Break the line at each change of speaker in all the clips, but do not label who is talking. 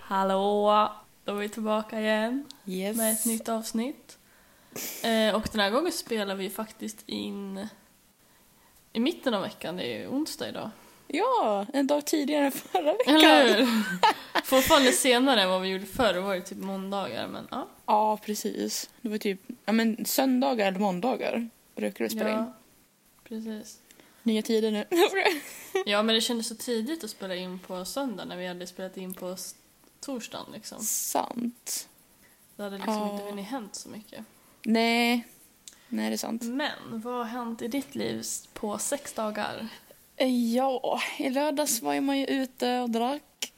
Hallå! Då är vi tillbaka igen
Yes.
med ett nytt avsnitt. Eh, och den här gången spelar vi faktiskt in i mitten av veckan, det är ju onsdag idag.
Ja, en dag tidigare än förra veckan.
Eller hur? Fortfarande senare än vad vi gjorde förr, det var ju typ måndagar men ja.
Ja, precis. Det var typ ja, men söndagar eller måndagar brukar du spela in.
ja. Precis.
Nya tider nu.
Ja men det kändes så tidigt att spela in på söndag när vi hade spelat in på s- torsdagen liksom.
sant.
Det hade liksom
Ja.
inte hunnit hänt så mycket.
Nej. Nej, det är sant.
Men vad har hänt i ditt liv på sex dagar?
Eh, Ja, i lördags var ju man ju ute och drack.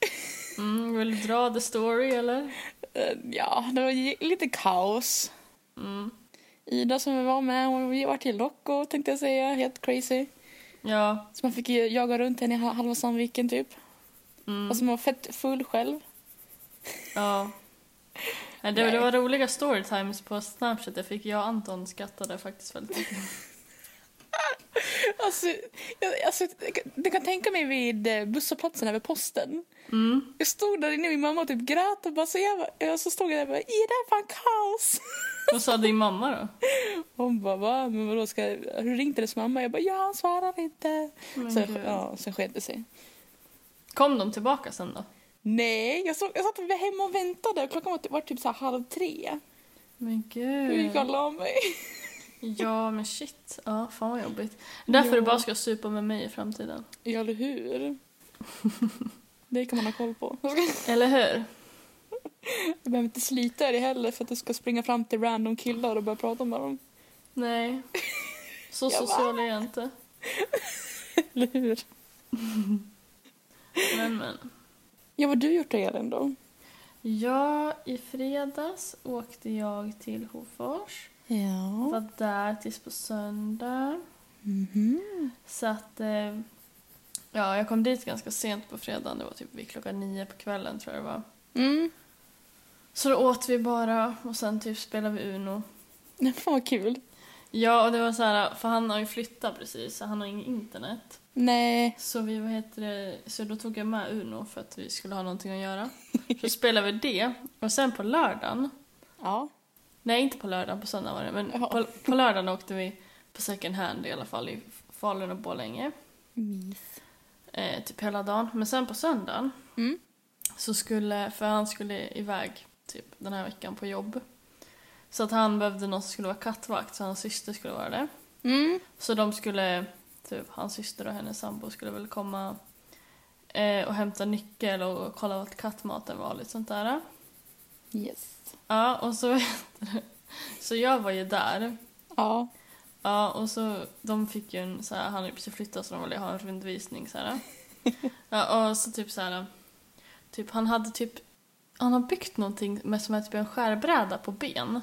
Mm, vill du dra the story eller?
Eh, Ja, det var ju lite kaos.
Mm.
Ida som vi var med, hon var till Rocco tänkte jag säga. Helt crazy.
Ja.
Så man fick ju jaga runt henne i ha- halva Sandviken typ.
Mm.
Alltså man var fett full själv.
ja. Nej, Det, det
Nej.
var roliga storytimes på Snapchat. Det fick jag och Anton skrattade faktiskt väldigt mycket.
Alltså, jag, alltså, jag kan- du kan tänka mig vid eh, busshållplatsen över posten.
Mm.
Jag stod där inne, min mamma och typ grät och bara så jag, bara- jag så stod jag där och bara, "Ida, det är fan kaos.
Vad sa din mamma då?
Hon bara, va? Men vadå, ska, har du ringt hennes mamma? Jag bara, ja, han svarar inte.
Men
Så,
gud.
ja, sen sket det sig.
Kom de tillbaka sen då?
Nej, jag, såg, jag satt hemma och väntade och klockan var, typ- var typ så här halv tre.
Men
Hur gick jag och
gud.
la mig?
Ja men shit. Ja, fan vad jobbigt. Därför
Ja.
du bara ska supa med mig i framtiden.
Ja, eller hur? Det kan man ha koll på.
Eller hur?
Du behöver inte slita dig heller för att du ska springa fram till random killar och börja prata med dem.
Nej. Så
Jag bara-
social är jag inte.
Eller hur?
Men men.
Ja, vad har du gjort då, Elin då?
Ja, i fredags åkte jag till Hofors.
Ja.
Var där tills på söndag.
Mhm.
Så att... Eh, ja, jag kom dit ganska sent på fredagen. Det var typ vid klockan nio på kvällen tror jag det var.
Mm.
Så då åt vi bara och sen typ spelade vi Uno.
Nej, Fan vad kul.
Ja, och det var så här, för han har ju flyttat precis så han har inget internet.
Nej.
Så vi, vad heter det, så då tog jag med Uno för att vi skulle ha någonting att göra. Så spelade vi det och sen på lördagen
Ja.
Nej, inte på lördagen, på söndagen var det. Men
Jaha.
på, på lördagen åkte vi på second hand i alla fall i Falun och Borlänge.
Mys.
Eh, typ hela dagen. Men sen på söndagen
Mm.
så skulle, för han skulle iväg typ den här veckan på jobb. Så att han behövde någon som skulle vara kattvakt så hans syster skulle vara det.
Mm.
Så de skulle, typ hans syster och hennes sambo skulle väl komma eh, och hämta nyckel och kolla vart kattmaten var och lite sånt där.
Yes.
Ja, och så, så jag var ju där
Ja.
Ja, och så de fick ju en så här, han hade precis flyttat så de ville ha en rundvisning så här. Ja, och så typ så här, typ han hade typ, han har byggt någonting med som är typ en skärbräda på ben.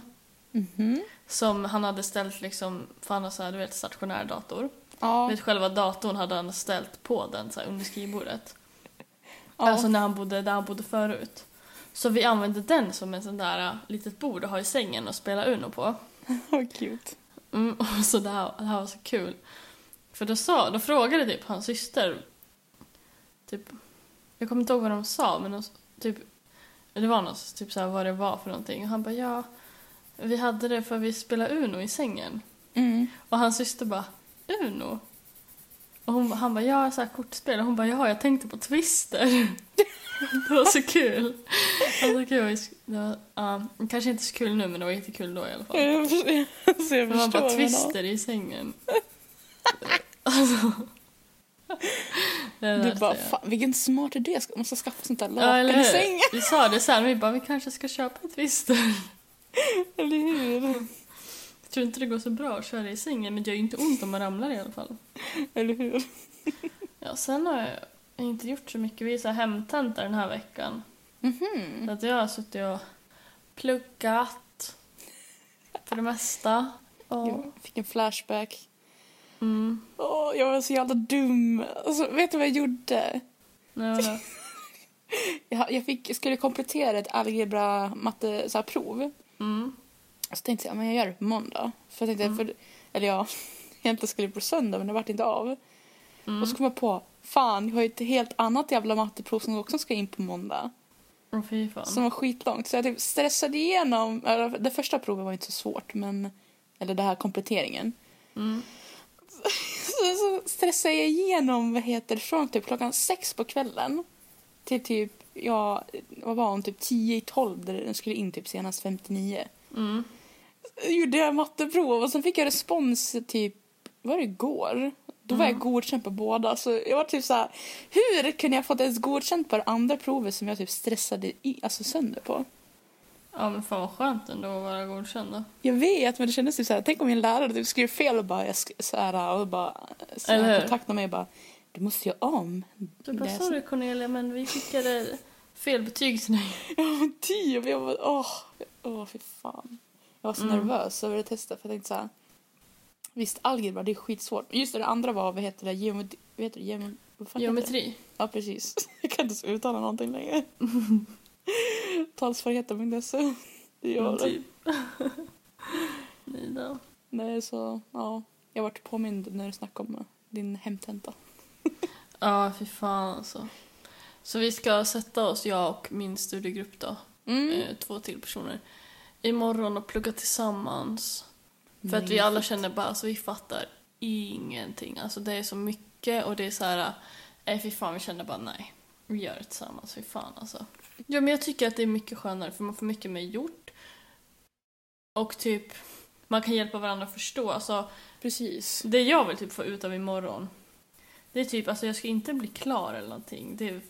Mhm.
Som han hade ställt liksom, för han har så här, du vet stationär dator. Du
Ja.
vet själva datorn hade han ställt på den så här under skrivbordet.
Ja.
Alltså när han bodde, där han bodde förut. Så vi använde den som en sån där äh, litet bord att ha i sängen och spela Uno på.
Vad cute.
Mm, och så det här, det här var så kul. För då, sa, då frågade typ hans syster, typ, jag kommer inte ihåg vad de sa, men de, s- typ, det var något, typ så här, vad det var för någonting. Och han bara, ja, vi hade det för vi spelade Uno i sängen.
Mm.
Och hans syster bara, Uno? Och hon, han bara, ja, så här kortspel. Och hon bara, ja, jag tänkte på Twister. det var så kul. Alltså, kul. Det var, ja, kanske inte så kul nu, men det var jättekul då i alla fall.
Jag förstår. Alltså, jag
Det var
förstår
bara
vad du menar.
twister i sängen. alltså. Det är värt
Du
att
bara,
göra.
fan vilken smart idé. Ska- Man ska skaffa sånt där
ja,
lakan
eller
i
hur?
sängen.
Vi sa det sen, vi bara vi kanske ska köpa en twister.
Eller hur?
Jag tror inte det går så bra att köra i sängen men det gör ju inte ont om man ramlar i alla fall.
Eller hur?
Ja, sen har jag inte gjort så mycket. Vi är så här hemtenta den här veckan.
Mhm.
Så att jag har suttit och pluggat för det mesta. Och,
Jag fick en flashback.
mm,
Åh, jag var så jävla dum. Alltså, vet du vad jag gjorde?
nej, vadå?
Jag, jag fick, jag skulle komplettera ett algebra matte så här, prov.
mm,
Så tänkte jag, men jag gör det på måndag. För jag tänkte, för, eller ja, egentligen skulle på söndag men det vart inte av.
Mm.
Och så kom jag på, fan jag har ju ett helt annat jävla matteprov som också ska in på måndag.
Åh, Mm, fy fan.
Som var skitlångt. Så jag typ stressade igenom, eller, det första provet var inte så svårt men, eller det här kompletteringen.
Mm.
Så, så stressade jag igenom, vad heter det, från typ klockan sex på kvällen till typ, ja, vad var hon, typ tio i tolv där den skulle in typ senast 59.
Mm.
gjorde jag matteprov och sen fick jag respons typ, var det igår? Då
Mm.
var jag godkänd på båda. Så jag var typ så här, hur kunde jag fått ens godkänt på det andra provet som jag typ stressade i, alltså sönder på?
Ja men fan vad skönt ändå att vara godkänd då.
Jag vet, men det kändes typ så här, tänk om min lärare typ skrev fel och bara, jag sk- så här, och bara, så
Eller
här,
hur?
kontaktade mig och bara, du måste göra om.
Du bara
Det är så-
sorry Cornelia men vi skickade fel betyg till dig.
Ja men typ, jag bara, åh, åh fy fan. Jag var så
Mm.
nervös över det testet för jag tänkte så här, visst algebra det är skitsvårt, men just det, det andra var, vad heter det, geometri, vad heter det, geometri, vad fan heter det?
Geometri.
Ja, precis. Jag kan inte ens uttala någonting längre. Talsvårigheter med dessa. Det gör
Men
det.
typ. Nej då.
Nej, så ja. Jag vart påmind när du snackade om eh, din hemtenta.
Ja fy fan alltså. Så vi ska sätta oss, jag och min studiegrupp då, eh, två till personer, imorgon och plugga tillsammans. För att vi alla känner bara, alltså vi fattar ingenting. Alltså det är så mycket och det är så här, nej fy fan vi känner bara nej. Vi gör det tillsammans, fy fan alltså. Ja men jag tycker att det är mycket skönare för man får mycket mer gjort. Och typ, man kan hjälpa varandra att förstå. Alltså
Precis.
det jag vill typ få ut av imorgon, det är typ, alltså jag ska inte bli klar eller någonting. Det är,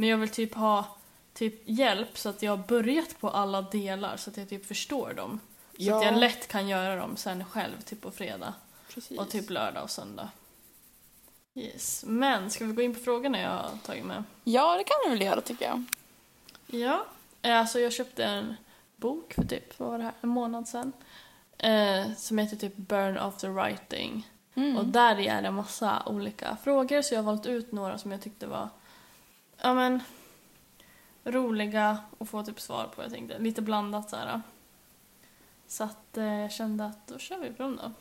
men jag vill typ ha typ hjälp så att jag har börjat på alla delar så att jag typ förstår dem. Så att jag lätt kan göra dem sen själv, typ på fredag.
precis.
Och typ lördag och söndag. Yes. Men ska vi gå in på frågorna jag har tagit med?
Ja, det kan du väl göra tycker jag.
Ja. eh, Alltså jag köpte en bok för typ, vad var det här, en månad sedan. Eh, som heter typ Burn After Writing.
Mm.
Och där i är det massa olika frågor så jag har valt ut några som jag tyckte var ja men roliga att få typ svar på jag tänkte. Lite blandat såhär. Så att eh, jag kände att då kör vi på dem då.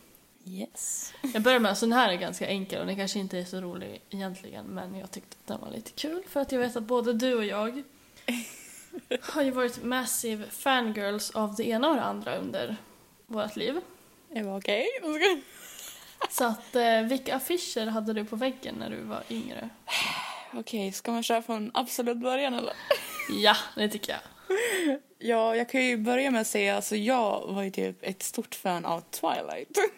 Yes.
Jag börjar med, så den här är ganska enkel och den kanske inte är så rolig egentligen men jag tyckte att den var lite kul för att jag vet att både du och jag har ju varit massive fangirls av det ena och det andra under vårt liv.
Jag bara okej. då ska-
Så att eh, vilka affischer hade du på väggen när du var yngre?
Okej, ska man köra från absolut början eller?
Ja, det tycker jag.
Ja, jag kan ju börja med att säga alltså jag var ju typ ett stort fan av Twilight.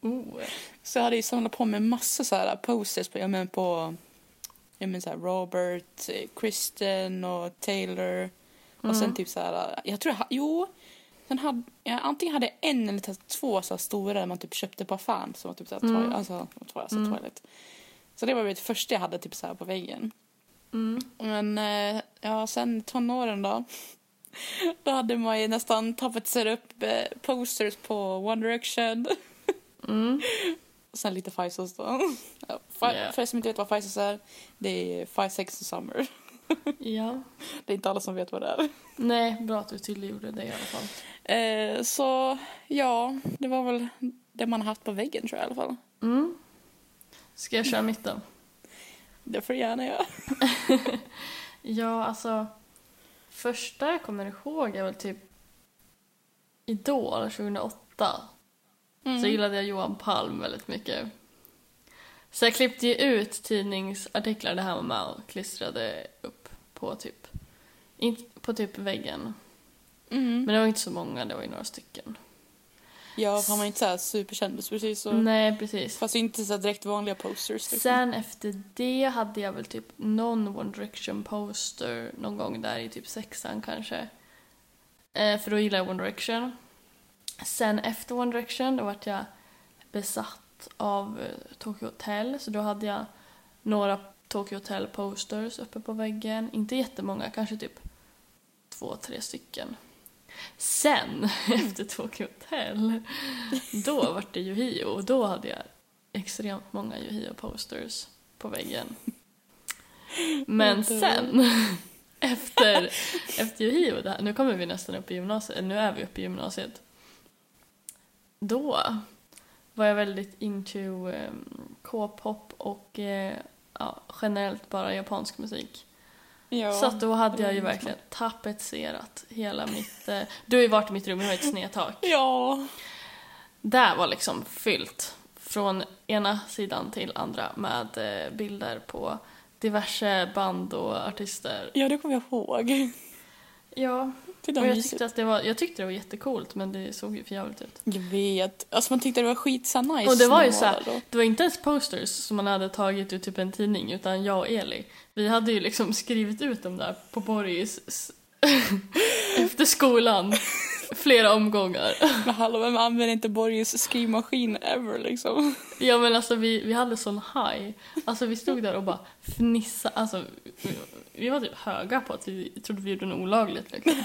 Oh.
Så jag hade ju samlat på mig massa så här posters på, jag men på jag men så här Robert, eh, Kristen och Taylor. Och sen typ så här, jag tror jag, ha- jo. Sen hade, jag antingen hade jag en eller typ två så här stora där man typ köpte på affären som var typ så här, Twilight, alltså, Twilight, alltså Twilight. Så det var väl det första jag hade typ så här på väggen.
Mm.
Men eh, ja, sen tonåren då. Då hade man ju nästan tapetserat upp eh, posters på One Direction.
Mm.
Och sen lite Faisos då. Ja, Fa-
Ja.
För er som inte vet vad Faisos är, det är Five Sex and Summer.
Ja.
Det är inte alla som vet vad det
Nej, bra att du tydliggjorde det i alla fall.
är. Eh, så ja, det var väl det man har haft på väggen tror jag i alla fall.
Mm. Ska jag köra mitt då?
Det får du gärna göra.
Ja, alltså. Första jag kommer ihåg är väl typ Idol 2008.
Mm.
Så gillade jag Johan Palm väldigt mycket. Så jag klippte ju ut tidningsartiklar det här var med och klistrade upp på typ, in- på typ väggen.
Mm.
Men det var inte så många, det var ju några stycken.
Ja, för han var inte så här superkändis precis. Så.
Nej, precis.
Fast inte så här direkt vanliga posters. Liksom.
Sen efter det hade jag väl typ någon One Direction poster någon gång där i typ sexan kanske. Eh, för då gillade jag One Direction. Sen efter One Direction då vart jag besatt av eh, Tokyo Hotel så då hade jag några Tokyo Hotel posters uppe på väggen. Inte jättemånga, kanske typ två, tre stycken. Sen, efter Tokyo Hotel, då vart det Yohio och då hade jag extremt många Yohio-posters på väggen. Men
Inte
sen, efter, efter Yohio, det här- nu kommer vi nästan upp i gymnasiet, nu är vi uppe i gymnasiet. Då var jag väldigt into eh, K-pop och eh, ja, generellt bara japansk musik.
Ja.
Så att då hade
det var
jag ju
intressant.
verkligen tapetserat hela mitt... Eh, du har ju varit i mitt rum, jag har ett snedtak.
Ja.
Där var liksom fyllt från ena sidan till andra med eh, bilder på diverse band och artister.
ja, det kommer jag ihåg.
Ja,
Det
och
där
jag
mysigt.
tyckte, att det var, jag tyckte det var jättecoolt men det såg ju för jävligt ut.
Jag vet. Alltså man tyckte det var skit så nice.
Och det var
när
ju
man
så här-
där då.
Det var inte ens posters som man hade tagit ur typ en tidning utan jag och Eli, vi hade ju liksom skrivit ut dem där på Borgis s- efter skolan flera omgångar.
Men hallå, vem använder inte Borges skrivmaskin ever liksom?
Ja men alltså vi, vi hade sån high. Alltså vi stod där och bara fnissade. Alltså vi, vi var typ höga på att vi trodde vi gjorde något olagligt liksom.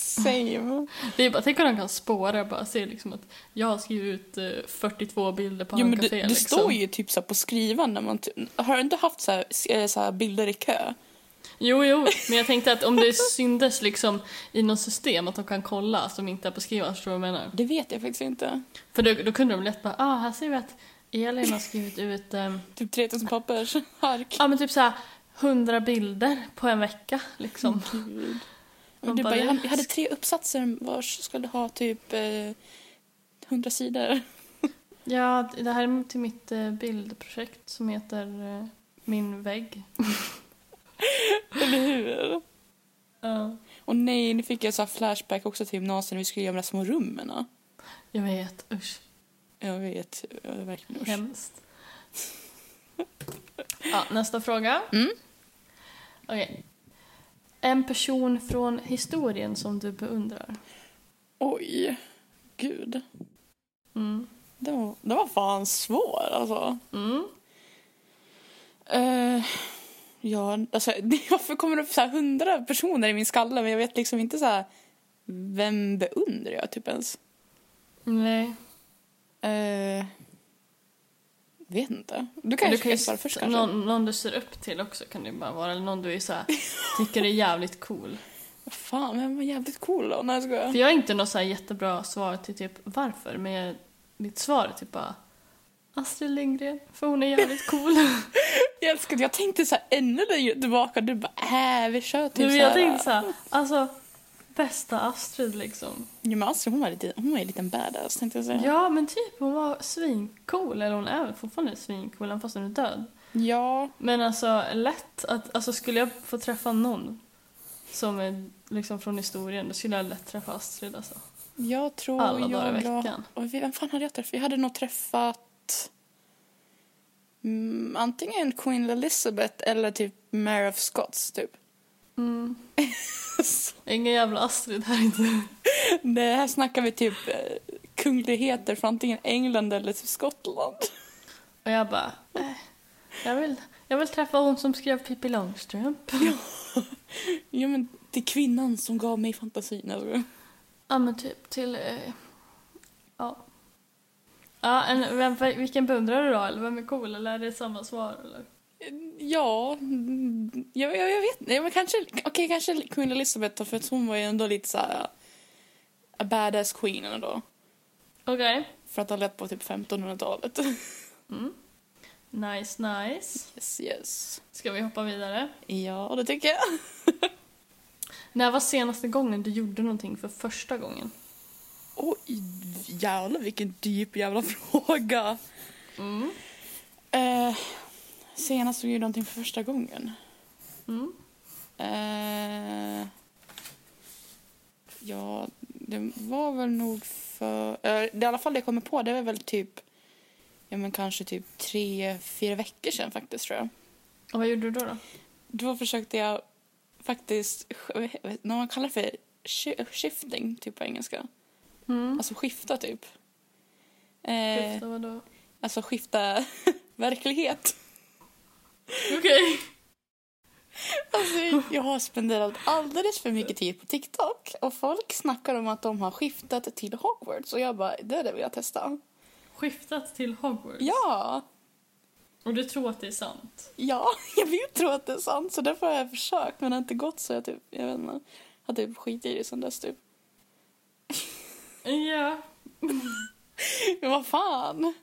Same.
Vi bara, tänk om de kan spåra bara se liksom att jag har skrivit ut eh, 42 bilder på
Jo men det,
Handcafé,
det
liksom.
står ju typ så här på skrivan när man... ty- Har du inte haft så här, eh, så här bilder i kö?
Jo, jo, men jag tänkte att om det syndes liksom i något system att de kan kolla som inte är på skrivaren, förstår du vad jag menar?
Det vet jag faktiskt inte.
För då, då kunde de lätt bara, ah, här ser vi att Elin har skrivit ut, ehm,
Typ 3000 pappers hark.
ja men typ såhär 100 bilder på en vecka liksom.
Gud.
Man
Men du
bara,
bara, jag
det-
hade- jag hade tre uppsatser vars skulle ha typ eh, 100 sidor.
Ja, det här är till mitt eh, bildprojekt som heter eh, Min vägg.
Eller hur?
Ja.
Och nej, nu fick jag så här flashback också till gymnasiet när vi skulle göra de där små rummen.
Jag vet, usch,
Jag vet, jag är verkligen usch.
hemskt. Ja, nästa fråga.
Mm.
Okej. En person från historien som du beundrar.
Oj, gud.
Mm.
Den var, den var fan svår alltså.
Mm.
Eh, ja, alltså varför kommer det upp så här 100 personer i min skalle men jag vet liksom inte så här vem beundrar jag typ ens?
Nej.
Eh, vet inte. Du kanske kan svara först kanske?
någon, någon du ser upp till också kan det ju bara vara. Eller någon du är så här, tycker är jävligt cool.
Fan, vem var jävligt cool då? Nej, jag
För
skojar.
jag har inte något så här jättebra svar till typ varför. Men jag, mitt svar är typ bara Astrid Lindgren, för hon är jävligt cool.
Jag älskar det. Jag tänkte så här ännu längre tillbaka. Du bara, äh, vi kör typ
Nu,
så
jag
här.
tänkte så här, alltså bästa Astrid liksom.
Ja, men Astrid, hon var, lite, hon var ju en liten badass tänkte jag säga.
Ja men typ hon var svincool, eller hon är väl fortfarande svincool även fast hon är död.
ja.
Men alltså lätt att, alltså skulle jag få träffa någon som är liksom från historien, då skulle jag lätt träffa Astrid alltså.
Jag tror
Alla dagar i
jag la-
veckan.
Och vi- vem fan hade jag träffat? Jag hade nog träffat mm, antingen Queen Elizabeth eller typ Mary of Scots typ.
Mm. Ingen jävla Astrid här inte.
Det här snackar vi typ eh, kungligheter från antingen England eller typ Skottland.
Och jag bara, eh, jag vill, jag vill träffa hon som skrev Pippi Långstrump.
Ja men det är kvinnan som gav mig fantasin. Alltså.
Ja men typ till, eh, ja. Ja, en, vem, vilken beundrar du då? Eller vem är cool? Eller är det samma svar? Eller?
Ja, mm, jag, jag, jag vet inte. Ja, men kanske, okej, kanske Queen Elizabeth då, för att hon var ju ändå lite så här a badass queen ändå.
Okej.
För att ha lett på typ 1500-talet.
Mm. Nice, nice.
Yes, yes.
Ska vi hoppa vidare?
Ja, det tycker jag.
När var senaste gången du gjorde någonting för första gången?
Oj, jävlar vilken djup jävla fråga.
Mm.
Eh, senast såg jag någonting för första gången.
Mm.
Eh, ja, det var väl nog för... eh, det är I alla fall det jag kommer på, det var väl typ... Ja, men kanske typ tre, fyra veckor sedan faktiskt tror jag.
Och vad gjorde du då? då?
Då försökte jag faktiskt... sk- När man kallar det för shi- shifting typ på engelska.
Mm.
Alltså skifta typ. Eh,
Skifta vadå?
alltså skifta verklighet.
Okej.
Alltså, jag har spenderat alldeles för mycket tid på TikTok och folk snackar om att de har skiftat till Hogwarts och jag bara, det är det vill jag testa.
Skiftat till Hogwarts?
Ja,
Och du tror att det är sant?
ja, jag vill tro att det är sant så därför har jag försökt men det har inte gått så jag typ, jag vet inte, har typ skitit i det sen dess typ.
Ja.
Men vad fan?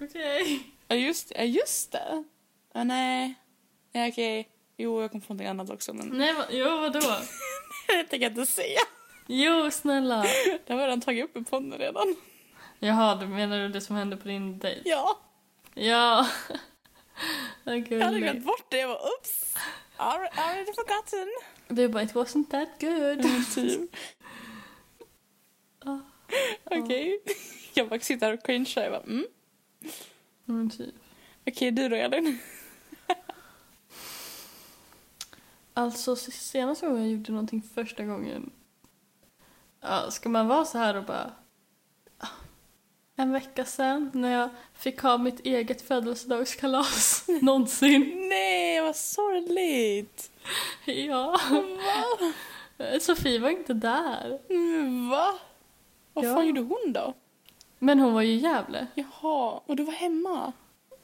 Okej.
Ja, just, ja, just det. Ja, nej. Ja, okej. Jo, jag kom på något annat också, men
Nej, va, jo vadå?
jag tänker inte säga.
Jo, snälla.
Det har jag redan tagit upp i podden redan.
Jaha, du menar du det som hände på din dejt?
Ja,
Ja. Vad
jag hade glömt
gulligt.
bort det. Jag bara, oops. Alre- Already forgotten.
Du bara, it wasn't that good.
Typ.
Ja.
Ah, Okej. Jag bara sitter här och cringear. Jag bara, mm.
Men typ.
Okej, du då Elin?
Alltså senaste gången jag gjorde någonting första gången. Ja, ska man vara så här och bara... "Ah, En vecka sen när jag fick ha mitt eget födelsedagskalas någonsin.
Nej, vad sorgligt.
Ja. Eh,
Va?
Sofie var inte där.
Mm, Va? Vad
Ja.
fan gjorde hon då?
Men hon var ju i Gävle.
Jaha, och du var hemma?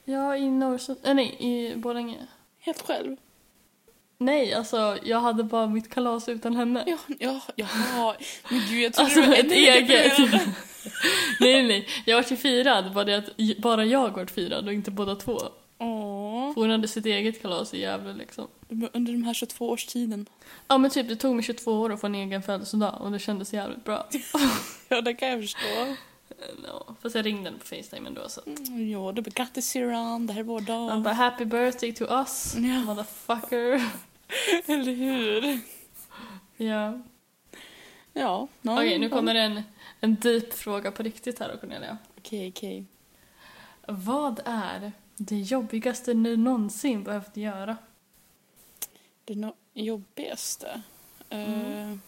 Ja, i Norrsund... Äh, nej, i Borlänge.
Helt själv?
Nej, alltså jag hade bara mitt kalas utan henne.
Ja, ja, ja. Men gud, jag trodde
Alltså
du var
ett
ännu mer
eget.
deprimerad.
nej, nej. Jag vart ju firad, bara det att j- bara jag vart firad och inte båda två.
Åh,
För hon hade sitt eget kalas i Gävle liksom.
under de här 22 årstiden.
Ja men typ det tog mig 22 år att få en egen födelsedag och det kändes jävligt bra.
Ja, det kan jag förstå.
No. Fast jag ringde henne på Facetime ändå så.
Mm, Ja, du bara grattis syrran, det här är vår dag.
Han bara happy birthday to us
Ja.
motherfucker.
Eller hur?
Ja.
Ja. no,
Okej nu
no.
kommer en, en deep fråga på riktigt här då Cornelia.
Okej, okej.
Vad är det jobbigaste ni någonsin behövt göra?
Det no- jobbigaste?
Mm.
Eh,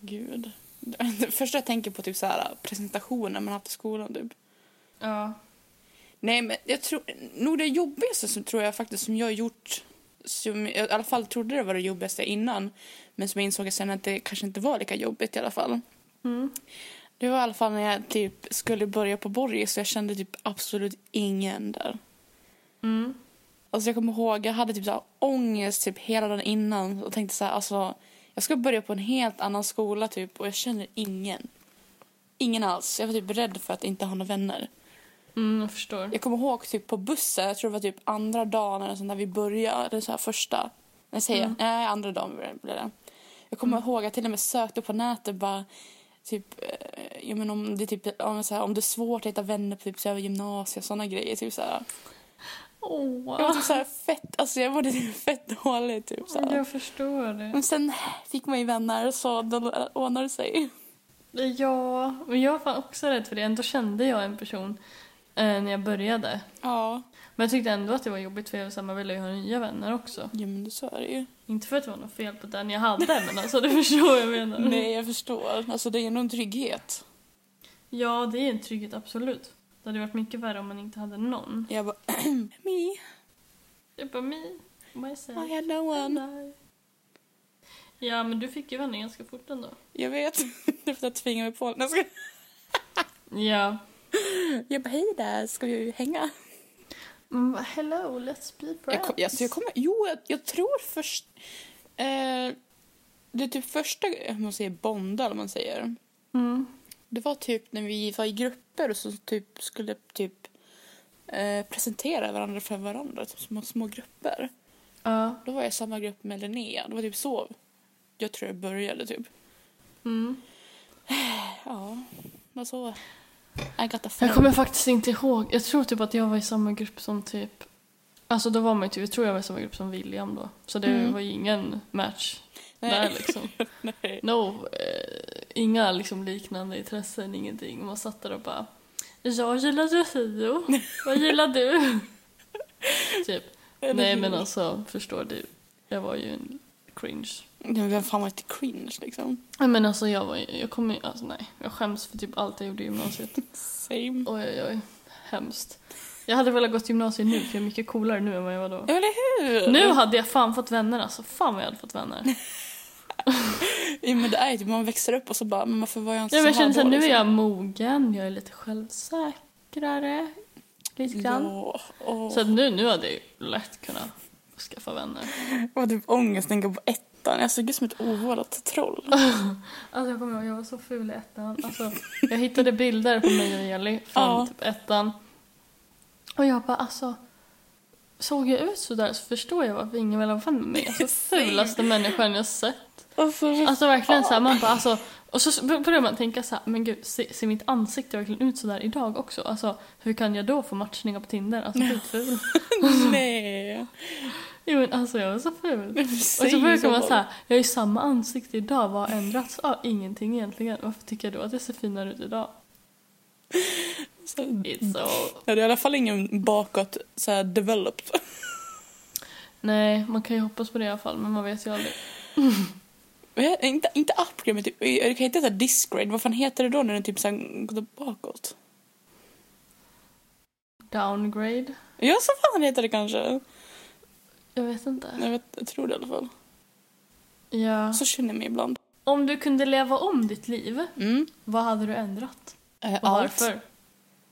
gud. Det första jag tänker på typ så här presentationer man haft i skolan typ.
Ja.
Nej, men jag tror nog det jobbigaste som tror jag faktiskt som jag har gjort som jag i alla fall trodde det var det jobbigaste innan men som jag insåg sen att det kanske inte var lika jobbigt i alla fall.
Mm.
Det var i alla fall när jag typ skulle börja på Borgis så jag kände typ absolut ingen där.
Mm.
Alltså jag kommer ihåg, jag hade typ så här ångest typ hela dagen innan och tänkte så här, alltså jag ska börja på en helt annan skola typ och jag känner ingen. Ingen alls. Jag var typ rädd för att inte ha några vänner.
Mm, jag förstår.
Jag kommer ihåg typ på bussen, jag tror det var typ andra dagen eller sånt när vi började, eller så här första. Nej, säger jag. Nej, andra dagen blev det- blev det. Jag kommer ihåg att till och med sökte på nätet bara typ, eh, jag menar om det är typ, om, så här, om det är svårt att hitta vänner på typ så här, gymnasiet, sådana grejer typ så här.
Åh.
Jag var typ så här fett, alltså jag mådde typ fett dåligt typ så här.
Jag förstår det.
Men sen fick man ju vänner så då ordnade det sig.
Ja, men jag var också rädd för det. Ändå kände jag en person eh, när jag började.
Ja.
Men jag tyckte ändå att det var jobbigt för jag var så här, man ville ju ha nya vänner också.
Ja men så är det ju.
Inte för att det var något fel på den jag hade men alltså du förstår vad jag menar.
Nej jag förstår, alltså det är nog en trygghet.
Ja, det är en trygghet absolut. Det hade varit mycket värre om man inte hade någon.
Jag bara, me,
Jag bara me, myself,
I had no one.
and I. Ja, men du fick ju vänner ganska fort ändå.
Jag vet. Det är för att jag tvingar mig på den.
Ja.
Jag bara, hej där, ska vi hänga?
Mm, hello, let's be friends.
Jag, kom, alltså jag kommer, jo, jag, jag tror först... Eh, det är typ första, om man säger bonda, eller vad man säger.
Mm.
Det var typ när vi var i grupper och så typ skulle typ eh, presentera varandra för varandra, typ små, små grupper.
Ja.
Då var jag i samma grupp med Linnea. Det var typ så jag tror jag började typ.
Mm.
Ja, vad så. I got the
Jag kommer faktiskt inte ihåg. Jag tror typ att jag var i samma grupp som typ... Alltså då var man ju typ, jag tror jag var i samma grupp som William då. Så det
Mm.
var ju ingen match där
Nej.
liksom.
Nej.
No, eh, inga liksom liknande intressen, ingenting. Man satt där och bara Jag gillar Rocio, vad gillar du? typ.
Eller
Nej
hur?
men alltså, förstår du. Jag var ju en cringe.
Ja, men Vem fan var inte cringe liksom?
Nej, Men alltså jag var ju, jag kommer ju- alltså nej. Jag skäms för typ allt jag gjorde i gymnasiet.
Same.
Oj, oj, oj. Hemskt. Jag hade velat gå till gymnasiet nu, för jag är mycket coolare nu än vad jag var då.
Ja, Eller hur?
Nu hade jag fan fått vänner alltså. Fan vad jag hade fått vänner.
Ja, men det är ju typ, man växer upp och så bara, men varför var jag inte
Ja, men jag
så här
kände såhär,
då?
nu är
liksom?
jag mogen, jag är lite självsäkrare. Lite grann.
Ja, åh.
Så att nu, nu hade jag ju lätt kunnat skaffa vänner.
Jag har typ ångest när jag går på ett ettan. Jag såg ut som ett ovårdat troll.
Alltså jag kommer ihåg, jag var så ful i ettan. Alltså, jag hittade bilder på mig och Jelly från
Ja.
typ ettan. Och jag bara alltså, såg jag ut sådär så förstår jag varför ingen vill ha vän med mig. Alltså fulaste människan jag sett.
Alltså,
Alltså verkligen såhär, man bara alltså. Och så börjar man tänka såhär, men gud, ser, ser mitt ansikte verkligen ut sådär idag också? Alltså hur kan jag då få matchningar på Tinder? Alltså skitful.
nej.
Jo men alltså jag var så ful.
Men vi
Och så
säger
brukar man
bara.
säga, jag har ju samma ansikte idag, vad har ändrats? Ja, ingenting egentligen. Varför tycker jag då att jag ser finare ut idag?
Så-
It's so...
Ja, det är i alla fall ingen bakåt så här developed.
Nej, man kan ju hoppas på det i alla fall, men man vet ju aldrig.
Men jag- Inte, inte upgrade, men typ, du kan heta så här disgrade. Vad fan heter det då när den typ så här går bakåt?
Downgrade?
Ja, så fan heter det kanske.
Jag vet inte.
Jag, vet, jag tror det i alla fall.
Ja.
Så känner jag mig ibland.
Om du kunde leva om ditt liv,
Mm.
vad hade du ändrat?
Eh,
Och
allt.
varför?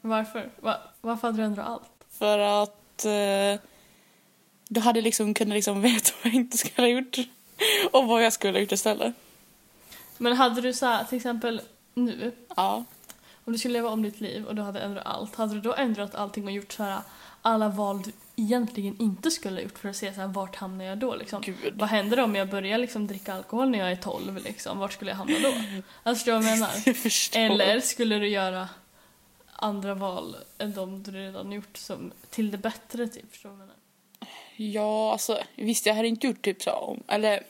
Varför? Va- varför hade du ändrat allt?
För att eh, då hade jag liksom kunnat liksom veta vad jag inte skulle ha gjort. Och vad jag skulle ha gjort istället.
Men hade du så här, till exempel nu,
Ja.
om du skulle leva om ditt liv och du hade ändrat allt, hade du då ändrat allting och gjort så här alla val du egentligen inte skulle ha gjort för att se så här, vart hamnar jag då liksom?
Gud.
Vad händer om jag börjar liksom dricka alkohol när jag är 12 liksom? Vart skulle jag hamna då? Alltså förstår du vad jag menar?
Jag förstår.
Eller skulle du göra andra val än de du redan gjort som till det bättre typ? Förstår du vad jag menar?
Ja, alltså visst jag hade inte gjort typ så om, eller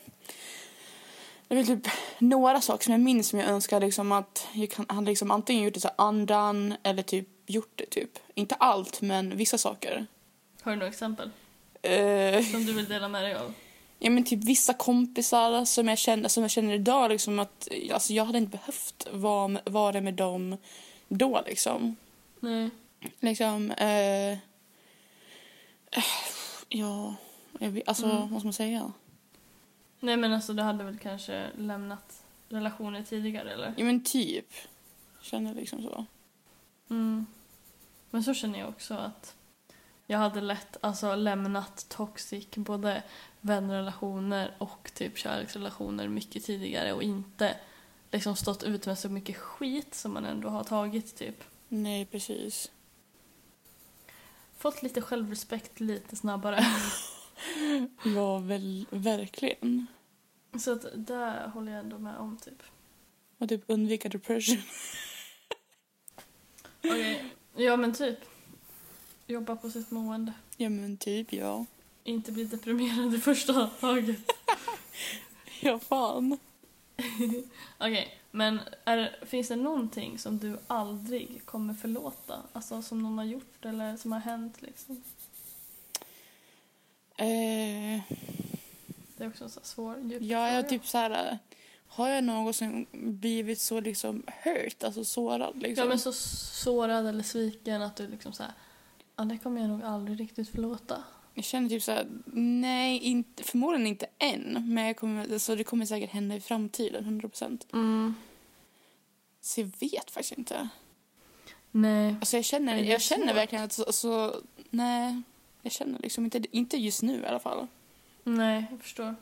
det är väl typ några saker som jag minns som jag önskar liksom att jag kan, hade liksom antingen gjort det så här andan eller typ gjort det typ. Inte allt men vissa saker.
Har du några exempel
Eh,
som du vill dela med dig av?
ja men typ vissa kompisar som jag känner, som jag känner idag liksom att alltså, jag hade inte behövt vara, med- vara med dem då liksom.
Nej.
Liksom, eh, eh, ja, jag, vet- alltså
Mm.
vad ska man säga?
Nej men alltså du hade väl kanske lämnat relationer tidigare eller?
Ja men typ. Känner liksom så.
Mm. Men så känner jag också att jag hade lätt alltså, lämnat toxic, både vänrelationer och typ kärleksrelationer mycket tidigare och inte liksom stått ut med så mycket skit som man ändå har tagit typ.
Nej precis.
Fått lite självrespekt lite snabbare.
Ja väl, verkligen.
Så att det håller jag ändå med om typ.
Och typ undvika depression.
Okej, ja men typ. Jobba på sitt mående.
Ja men typ ja.
Inte bli deprimerad i första taget.
Ja fan.
Okej, men är, finns det någonting som du aldrig kommer förlåta? Alltså som någon har gjort eller som har hänt liksom?
Eh,
Det är också en så här svår, djup
ja jag
fråga.
är typ så här. Har jag någonsin blivit så liksom hurt, alltså sårad liksom?
Ja men så sårad eller sviken att du liksom såhär, ja det kommer jag nog aldrig riktigt förlåta.
Jag känner typ så här, nej inte, förmodligen inte än. Men jag kommer, alltså, det kommer säkert hända i framtiden, 100%. Så jag vet faktiskt inte.
Nej.
Alltså jag känner,
Men det är
jag känner
svårt.
verkligen att så, så, nej, jag känner liksom inte, inte just nu i alla fall.
Nej, jag förstår.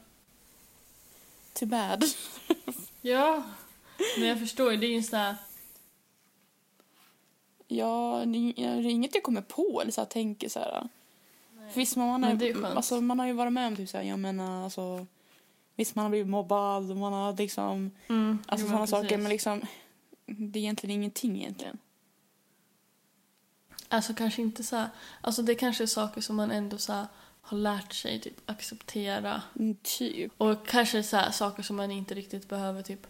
Too bad.
Ja. Men jag förstår ju, det är ju såhär,
Ja, det är inget jag kommer på eller så här, tänker så här. För Visst, man, man,
Men
är,
det är skönt.
alltså, man har ju varit med om typ så här, jag menar alltså, visst man har blivit mobbad och man har liksom,
mm,
alltså
jo,
sådana saker
precis. Mm,
men liksom, det är egentligen ingenting egentligen.
Alltså kanske inte såhär, alltså det kanske är saker som man ändå såhär har lärt sig typ acceptera.
Mm, Typ.
Och kanske så här, saker som man inte riktigt behöver typ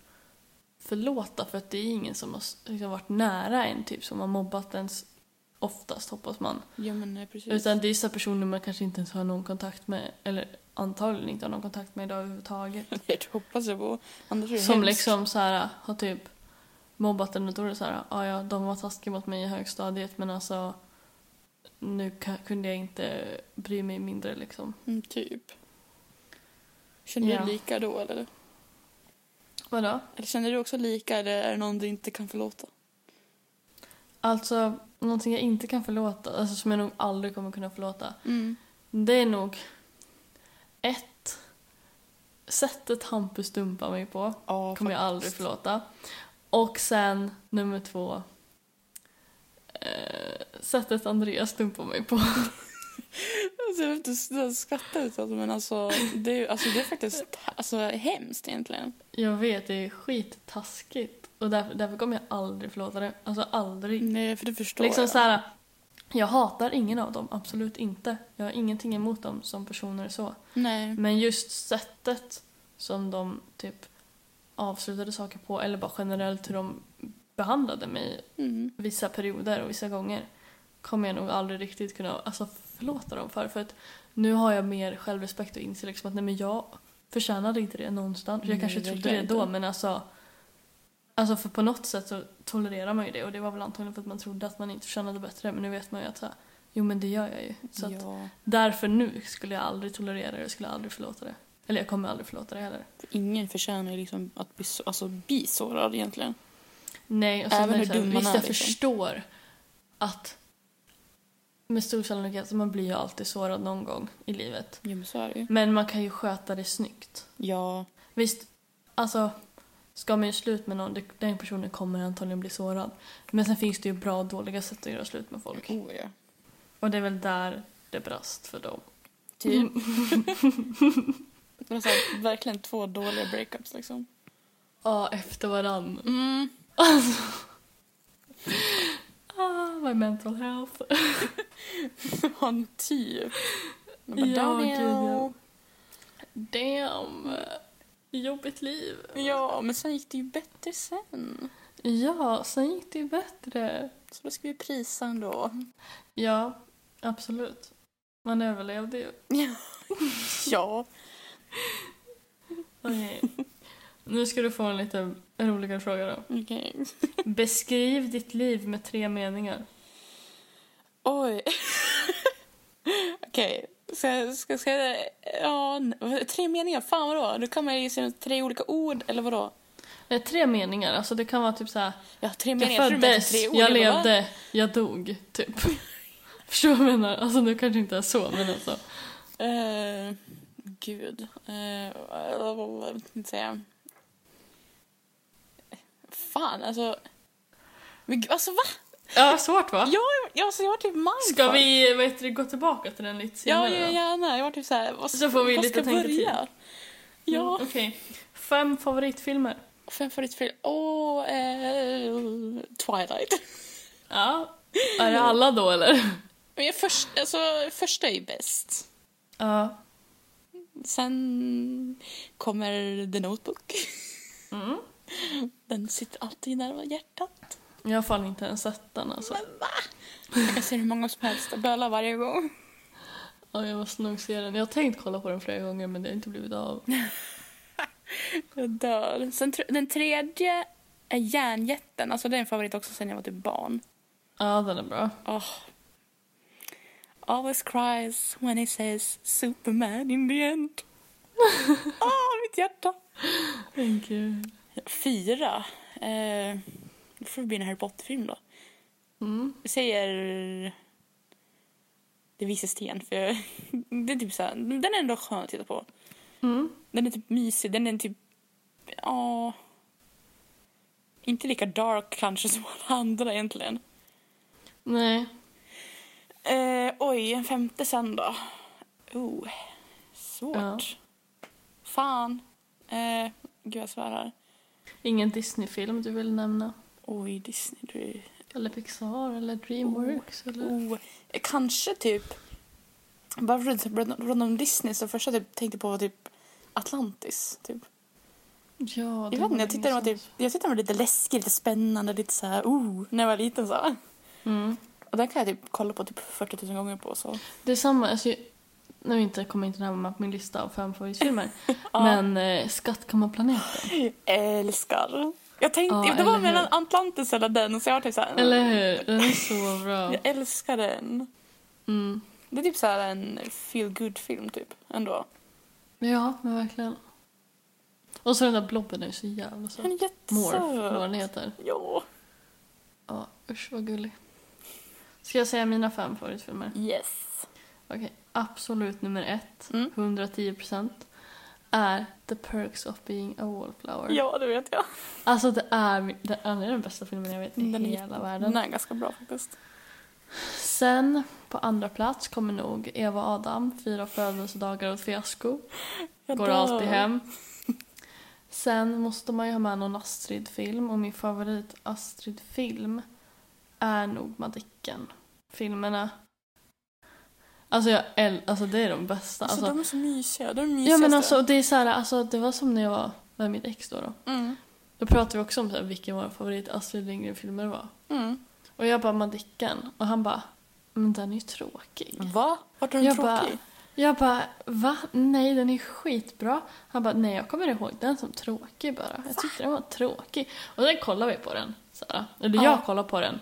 förlåta för att det är ingen som har s- liksom, varit nära en typ som har mobbat ens oftast hoppas man.
Ja men eh, precis.
Utan det är så här personer man kanske inte ens har någon kontakt med eller antagligen inte har någon kontakt med idag överhuvudtaget.
det hoppas jag på. Annars är det
Som
hemskt.
liksom så här har typ mobbat en och då är det så här, ah, ja de var taskiga mot mig i högstadiet men alltså nu ka- kunde jag inte bry mig mindre liksom.
Mm, typ. Känner
Ja.
du lika då eller?
Vadå?
Eller känner du också lika eller är det någon du inte kan förlåta?
Alltså någonting jag inte kan förlåta, alltså som jag nog aldrig Mm. kommer kunna förlåta
Mm.
Det är nog ett, sättet Hampus dumpar mig på
Ja,
kommer jag aldrig förlåta. Och sen nummer två, eh, sättet Andreas dumpar mig på.
Alltså, jag vet inte skratta ut alltså, men alltså det, är, ju- alltså det är faktiskt alltså, hemskt egentligen.
Jag vet, det är skittaskigt. Och därför, därför kommer jag aldrig förlåta det. Alltså aldrig.
Nej, för det förstår
liksom
jag.
så här, jag hatar ingen av dem, absolut inte. Jag har ingenting emot dem som personer så.
Nej.
Men just sättet som de typ avslutade saker på eller bara generellt hur de behandlade mig
Mm.
vissa perioder och vissa gånger kommer jag nog aldrig riktigt kunna alltså, förlåta dem för. För att nu har jag mer självrespekt och inser liksom att nej men jag förtjänade inte det någonstans. Jag
Nej,
kanske
det
trodde det
verkligen
då
inte.
men alltså Alltså för på något sätt så tolererar man ju det och det var väl antagligen för att man trodde att man inte förtjänade bättre men nu vet man ju att så här, jo men det gör jag ju. Så att
Ja.
därför nu skulle jag aldrig tolerera det, jag skulle aldrig förlåta det. Eller jag kommer aldrig förlåta det heller.
Ingen förtjänar ju liksom att bli, så, alltså, bli sårad egentligen.
Nej, och sen
Även
är det
hur
så här,
dum man
visst
är,
jag
liksom.
förstår att med stor sannolikhet, man blir ju alltid sårad någon gång i livet.
Jo, men så är det ju.
Men man kan ju sköta det snyggt.
Ja.
Visst, alltså ska man ju slut med någon, det- den personen kommer antagligen bli sårad. Men sen finns det ju bra och dåliga sätt att göra slut med folk.
Oh, ja.
Och det är väl där det brast för dem.
Typ.
Mm.
Men alltså, verkligen två dåliga breakups liksom.
Ja, efter varann.
Mm.
Ah, my mental health.
Han typ. Men bara,
Ja,
"Daniel."
gud, ja. Damn. Jobbigt liv.
Ja, men sen gick det ju bättre sen.
Ja, sen gick det ju bättre.
Så då ska vi prisa ändå.
Ja, absolut. Man överlevde ju.
Ja.
Okej. nu ska du få en lite roligare fråga då.
Okej.
Beskriv ditt liv med tre meningar.
Oj. Okej. Ska, jag- ska, ska jag... Ja, n- tre meningar. Fan vadå? Då kan man ju säga tre olika ord eller vadå?
Nej, tre meningar. Alltså det kan vara typ så här.
Ja, tre
Jag
meningar. tror du menar
föddes,
tre ord.
jag
bara, va?
levde, jag dog. Typ. Förstår du vad jag menar? Alltså nu kanske inte är så, men alltså.
Eh, gud. Eh, vad ska jag säga? Fan, alltså. Men gud, alltså va?
Ja, svårt va?
Jag, jag, alltså, jag var typ mindfuck.
Ska vi vad heter det, gå tillbaka till den lite
Ja,
senare?
ja,
då?
gärna. Jag var typ så här. Vad,
Så får vi
vad
lite
ska jag
tänketid.
börja? Ja.
Mm, Okej. Fem favoritfilmer.
Fem favoritfilmer? Åh, eh, Twilight.
Ja. Är det alla då eller?
Men jag först, alltså, första är ju bäst.
Ja.
Sen kommer The Notebook.
Mm.
Den sitter alltid nära hjärtat.
Jag har fan inte ens sett den alltså.
Jag kan se hur många som helst och böla varje gång.
Ja, jag måste nog se den. Jag har tänkt kolla på den flera gånger men det har inte blivit av.
Jag dör. Sen, tr- den tredje är Järnjätten. Alltså, det är en favorit också sen jag var typ barn.
Ja, den är bra.
Åh. Always cries when he says Superman in the end. Åh, mitt hjärta!
Thank you.
Fyra. Eh, då får det bli en Harry Potter-film då.
Mm.
Jag säger Det vises sten. För jag, det är typ så här, den är ändå skön att titta på.
Mm.
Den är typ mysig. Den är typ... Ja... Inte lika dark kanske som alla andra egentligen.
Nej.
Eh, oj, en femte sen då. Oh, svårt.
Ja.
Fan. Eh, gud, jag svärar.
Ingen Disney-film du vill nämna?
Oj, Disney. Du är
Eller Pixar eller Dreamworks eller?
Oh, eh, kanske typ... Bara för att det pratade om Disney så första jag typ, tänkte på var typ Atlantis. Typ.
Ja,
Jag vet inte, jag tyckte den var, typ, jag tyckte den var lite läskig, lite spännande, lite så här, oh, när jag var liten så. här.
Mm.
Och den kan jag typ kolla på typ 40 000 gånger på så.
Det är samma, alltså, nu inte, kommer inte den här med på min lista av fem favoritfilmer.
Ja.
Men eh, Skattkammarplaneten.
Älskar. Jag tänkte,
Ja,
det var
eller hur?
mellan Atlantis eller den så jag var typ så här,
Eller hur? Den är så bra.
Jag älskar den.
Mm.
Det är typ så här en feel good film typ ändå.
Ja, men verkligen. Och så den där blobben är så jävla
Den
söt.
är
Morph, eller vad
jättesöt.
den heter.
Ja.
Ja, usch vad gullig. Ska jag säga mina fem favoritfilmer?
Yes.
Okej, absolut nummer ett,
Mm.
110% är The Perks of Being a Wallflower.
Ja, det vet jag.
Alltså det är, min- det är den bästa filmen jag vet i
Den är
hela
jätte-
världen.
Den är ganska bra faktiskt.
Sen på andra plats kommer nog Eva och Adam, fyra födelsedagar och ett fiasko.
Jag
Går
dör.
alltid hem. Sen måste man ju ha med någon Astrid-film och min favorit Astrid-film är nog Madicken. Filmerna. Alltså, jag äl- alltså det är de bästa.
Alltså,
Alltså,
de är så mysiga. De är mysigaste.
ja men alltså det är så här, alltså det var som när jag var med mitt ex då. Då,
Mm.
då pratade vi också om så här, vilken vår favorit Astrid Lindgren-filmer var.
Mm.
Och jag bara Madicken och han bara men den är ju tråkig.
Va? Vart är den
Jag
Mm, tråkig?
Jag bara, va? Nej, den är skitbra. Han bara, nej, jag kommer ihåg den som tråkig bara. Jag tyckte den var tråkig. Och sen kollade vi på den. Så här. Eller
Ja.
jag kollade på den.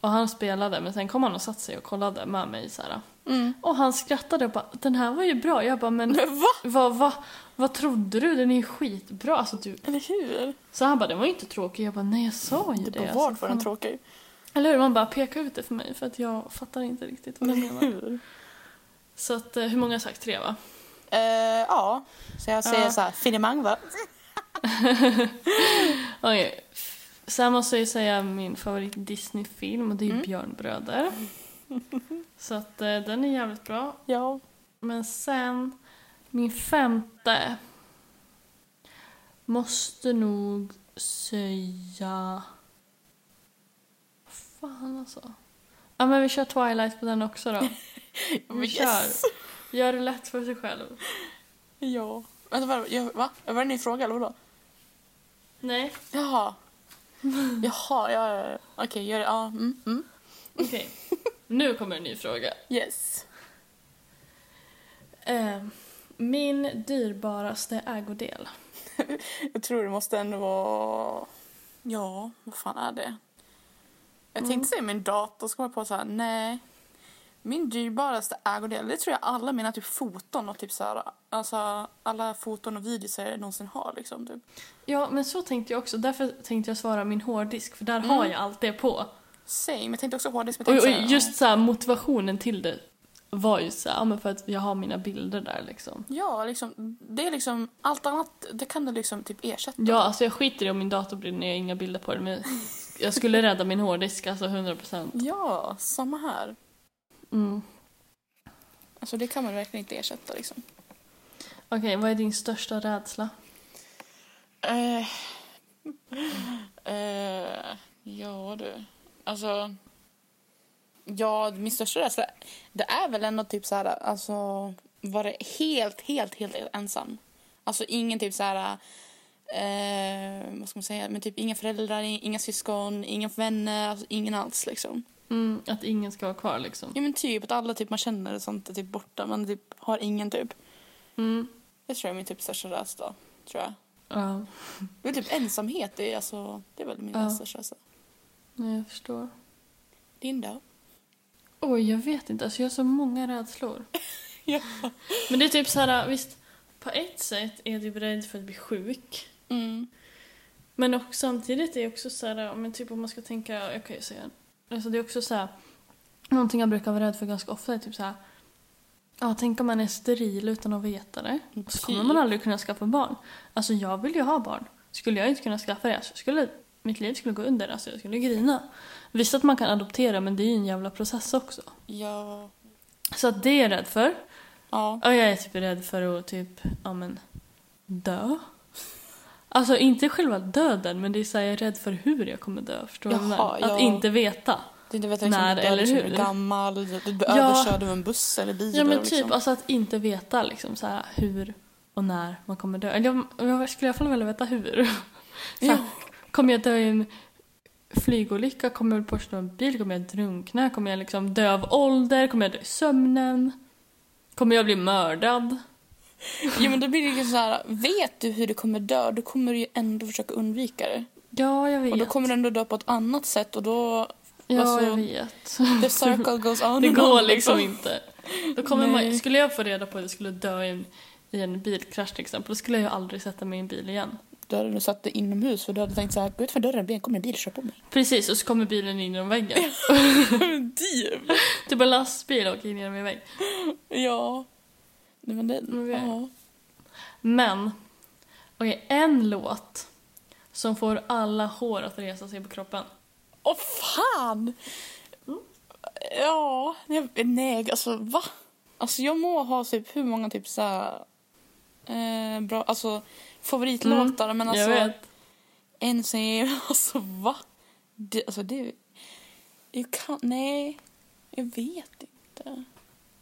Och han spelade, men sen kom han och satte sig och kollade med mig. Så här.
Mm.
Och han skrattade och bara, den här var ju bra. Jag bara, men
Men va?
vad, vad, vad trodde du? Den är ju skitbra. Alltså, du...
Eller hur?
Så han bara, den var ju inte tråkig. Jag bara, nej, jag sa ju det.
Det bara,
Alltså,
vart var den
fan.
tråkig?
Eller hur? Man bara, peka ut det för mig, för att jag fattar inte riktigt vad du menar.
Hur?
Så att, eh, hur många har jag sagt? Tre, va?
Eh, ja, så jag säger
Ja.
så här, finemang va?
Okej. f- Sen måste jag ju säga min favorit Disney-film och det är ju Björnbröder. Så att eh, den är jävligt bra.
Ja.
Men sen, min femte måste nog säga... Fan alltså. Ja men vi kör Twilight på den också då. Vi
Mm, Yes!
kör. Gör det lätt för sig själv.
Ja. Vänta, vad, jag, va? Var det en ny fråga eller vadå?
Nej,
Jaha. Jaha, ja, ja, ja. Okej, gör det. Ja, mm, mm.
okej. Nu kommer en ny fråga.
Yes.
Eh, min dyrbaraste ägodel.
Jag tror det måste ändå vara... Ja, vad fan är det? Jag tänkte säga min dator, så kom jag på så här, nej. Min dyrbaraste ägodel, det tror jag alla mina typ foton och typ så här, alltså alla foton och videos jag någonsin har liksom typ.
Ja, men så tänkte jag också. Därför tänkte jag svara min hårddisk, för där har jag allt det på. Alltså,
Same, jag tänkte också hårddisk. men
Mm. Och,
jag
och
tänkte så här,
just så här, motivationen till det var ju så här, ja, men för att jag har mina bilder där liksom.
Ja, liksom, det är liksom allt annat, det kan du liksom typ ersätta.
Ja, alltså jag skiter i om min dator brinner när jag har inga bilder på den, men jag skulle rädda min hårddisk, alltså 100%.
Ja, samma här.
Mm.
Alltså det kan man verkligen inte ersätta liksom.
Okej, vad är din största rädsla?
Eh, eh, ja du, alltså. Ja, min största rädsla, det är väl ändå typ så här, alltså vara helt, helt, helt, helt ensam. Alltså ingen typ så här, eh, vad ska man säga, men typ inga föräldrar, inga syskon, inga vänner, alltså ingen alls liksom.
Mm, att ingen ska vara kvar liksom.
Ja men typ att alla typ man känner och sånt är typ borta. Man typ har ingen typ.
Mm.
Det tror jag är min typ största rädsla. Tror jag.
Ja,
Det är typ ensamhet. Det är, alltså, det är väl min
Ja.
största rädsla.
nej, jag förstår.
Din då?
Oj, jag vet inte. Alltså jag har så många rädslor.
Ja.
Men det är typ så här, visst, på ett sätt är du rädd för att bli sjuk.
Mm.
Men också, samtidigt är det också så här, men typ om man ska tänka, jag kan ju säga, alltså det är också så här, någonting jag brukar vara rädd för ganska ofta är typ så här, ja tänk om man är steril utan att veta det. Och så kommer
Typ.
man aldrig kunna skaffa barn. Alltså jag vill ju ha barn. Skulle jag inte kunna skaffa det, alltså, jag skulle, mitt liv skulle gå under, alltså jag skulle grina. Visst att man kan adoptera men det är ju en jävla process också.
Ja.
Så att det är jag rädd för.
Ja.
Ja, jag är typ rädd för att typ, ja men, dö. Alltså inte själva döden, men det är så här, jag är rädd för hur jag kommer dö. Förstår du vad jag
Jaha,
menar? Att
ja.
inte veta.
Du inte vet liksom,
När
du dör,
eller
liksom,
hur?
Du är gammal. Du blir
Ja.
överkörd av en buss eller bil.
Ja men
eller
typ,
liksom.
alltså att inte veta liksom så här, hur och när man kommer dö. Eller jag, jag skulle i alla fall vilja veta hur. Så här,
Ja.
Kommer jag dö i en flygolycka? Kommer jag borsta en bil? Kommer jag drunkna? Kommer jag liksom dö av ålder? Kommer jag dö i sömnen? Kommer jag bli mördad?
ja men då blir det liksom så här. Vet du hur du kommer dö, då kommer du ju ändå försöka undvika det.
Ja, jag vet.
Och då kommer du ändå dö på ett annat sätt och då...
ja,
alltså,
jag vet.
The circle goes on
Det
and
går
on,
liksom inte. Då kommer man,
Nej.
skulle jag få reda på att jag skulle dö i en, i en bilkrasch till exempel, då skulle jag ju aldrig sätta mig i en bil igen.
Då hade du satt dig inomhus för du hade tänkt så här, gå ut för dörren, det kommer en bil och kör på mig.
Precis, och så kommer bilen in genom väggen. typ en lastbil åker in genom en vägg.
Ja. Nej men det,
Men vi-
ja.
Men, okej, en låt som får alla hår att resa sig på kroppen.
Åh fan! Ja, nej, nej, alltså va? Alltså jag må ha typ hur många typ så här, eh, bra, alltså favoritlåtar men alltså
Mm, jag vet.
en säger alltså va? Det, alltså det, jag kan, nej, jag vet inte.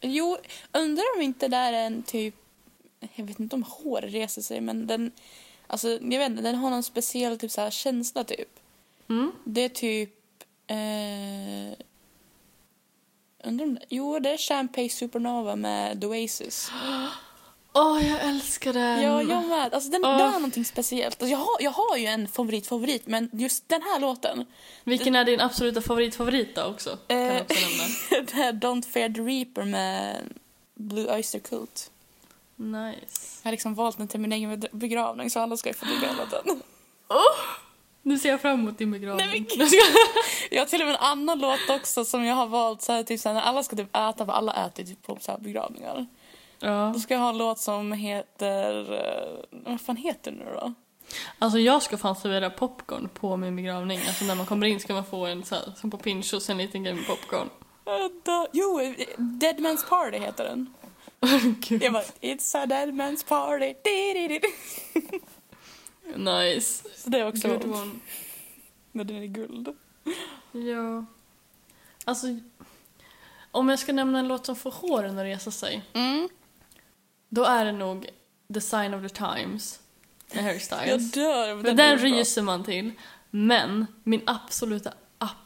Jo, undrar om inte där en typ, jag vet inte om hår reser sig men den, alltså jag vet inte, den har någon speciell typ så här känsla typ.
Mm.
Det är typ... Eh, undrar om det, jo, det är Champagne Supernova med The Oasis.
Åh, jag älskar den!
Ja, jag med. Alltså, den,
Mm. Ah.
den har någonting speciellt. Alltså, jag, har, jag har ju en favorit favorit, men just den här låten.
Vilken är din absoluta favorit-favorit då också? Kan jag
Eh.
också nämna.
det här Don't Fear the Reaper med Blue Oyster Cult.
Nice.
Jag har liksom valt den till min egen begravning så alla ska ju få ta del av den.
Oh! Nu ser jag fram emot din begravning.
Nej, men
Jag ska-
Jag har till och med en annan låt också som jag har valt så här, typ så här, när alla ska typ äta, för alla äter typ på så här begravningar.
ja.
Då ska jag ha en låt som heter... eh, Vad fan heter den nu då?
Alltså jag ska fan servera popcorn på min begravning. Alltså när man kommer in ska man få en så här, som på Pinchos, en liten grej med popcorn.
Vänta. Jo, eh, Dead Man's Party heter den.
Gud.
Jag bara, It's a dead man's party. Di-di-di-di.
Nice.
Så det är också...
Good one.
Men den är guld.
Ja. Alltså, om jag ska nämna en låt som får håren att resa sig,
Mm.
då är det nog The Sign of the Times med Harry
Jag
Styles.
dör av
Den, den
låten.
ryser man till. Men min absoluta,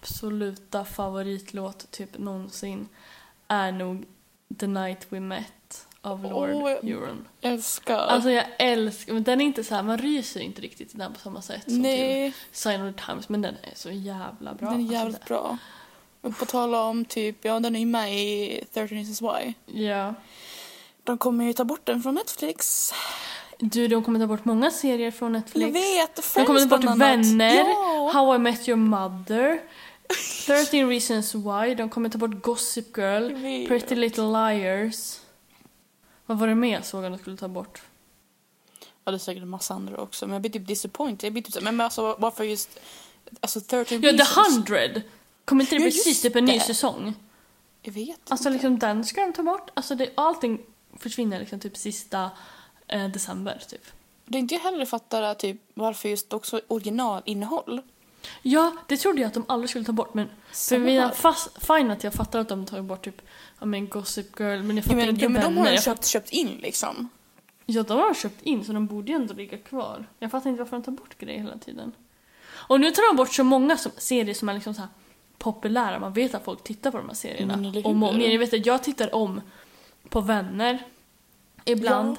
absoluta favoritlåt typ någonsin är nog The Night We Met av Lord
Åh, jag-
Huron.
Jag Älskar.
Alltså jag älskar, men den är inte så här, man ryser inte riktigt i den på samma sätt som till
Nej,
Sign of the Times, men den är så jävla bra.
den är
alltså,
jävligt bra. Och på tal om typ, ja den är ju med i 13 Reasons Why.
det- Ja.
De kommer ju ta bort den från Netflix.
Du, de kommer ta bort många serier från
Jag
Netflix.
vet,
de kommer ta
Friends
bort
bland annat.
Vänner,
Ja.
How I Met Your Mother, 13 Reasons Why, de kommer ta bort Gossip Girl,
Jag vet.
Pretty Little Liars. Vad var det mer jag såg att de skulle ta bort?
Ja, det är säkert en massa andra också. Men jag blir typ disappointed. Jag blir typ så, men men alltså varför just... Alltså 13
Ja, The
Reasons?
Hundred! Kommer inte det
Ja,
precis
just
typ en ny
det.
säsong?
Jag vet
Alltså
inte.
liksom den ska de ta bort. Alltså det, allting försvinner liksom typ sista eh, december typ.
Det är inte jag heller fattar är typ varför just också originalinnehåll.
Ja, det trodde jag att de aldrig skulle ta bort men för
Samma
mina
här.
fast, fine att jag fattar att de tar bort typ, ja men Gossip Girl men jag
Jo
fattar
men,
inte
jo, men de har
vänner.
ju
Jag fatt,
köpt, köpt in liksom.
ja, de har köpt in så de borde ju ändå ligga kvar. Jag fattar inte varför de tar bort grejer hela tiden. Och nu tar de bort så många som, serier som är liksom så här populära, man vet att folk tittar på de här serierna.
Men eller hur?
om och om igen. Jag vet att jag tittar om på Vänner ibland.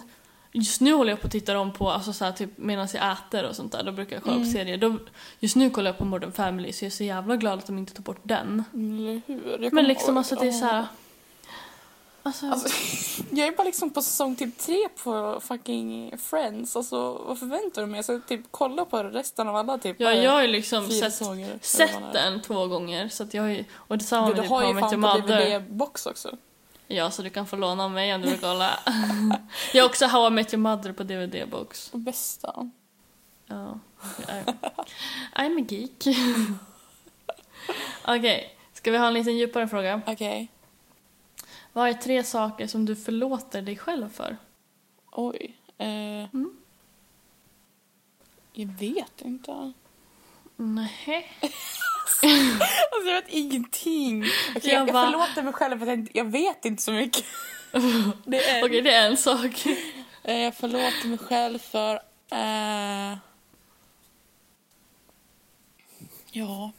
Just nu håller jag på att titta om på, alltså så här, typ medan jag äter och sånt där, då brukar jag kolla på
Mm.
serier. Då, just nu kollar jag på Modern Family så jag är så jävla glad att de inte tog bort den.
Eller hur? Jag
Men
kommer
liksom
ihåg-
alltså det är så här. Alltså,
Alltså, jag är bara liksom på säsong typ tre på fucking Friends. Alltså vad förväntar du mig? Jag ska typ kolla på resten av alla typ.
ja,
eh,
jag har ju liksom
fyra
sett,
säsonger, eller vad man
sett
är.
den två gånger så att jag har ju, och detsamma
Du,
med
du
typ
har
How I
ju
Met Your
fan på
Mother.
DVD-box också.
Ja, så du kan få låna av mig om du vill kolla. jag har också How I Met Your Mother på DVD-box.
Bästa.
Ja, jag är- I'm a geek. Okej, ska vi ha en liten djupare fråga?
Okej.
Vad är tre saker som du förlåter dig själv för?
Oj. Eh,
Mm.
Jag vet inte. Alltså,
Nej.
jag vet ingenting. Okej,
Jag
jag, jag
bara-
förlåter mig själv för att jag, inte- jag vet inte så mycket. det är...
Okej, det är en sak.
Eh, jag förlåter mig själv för... eh, Ja.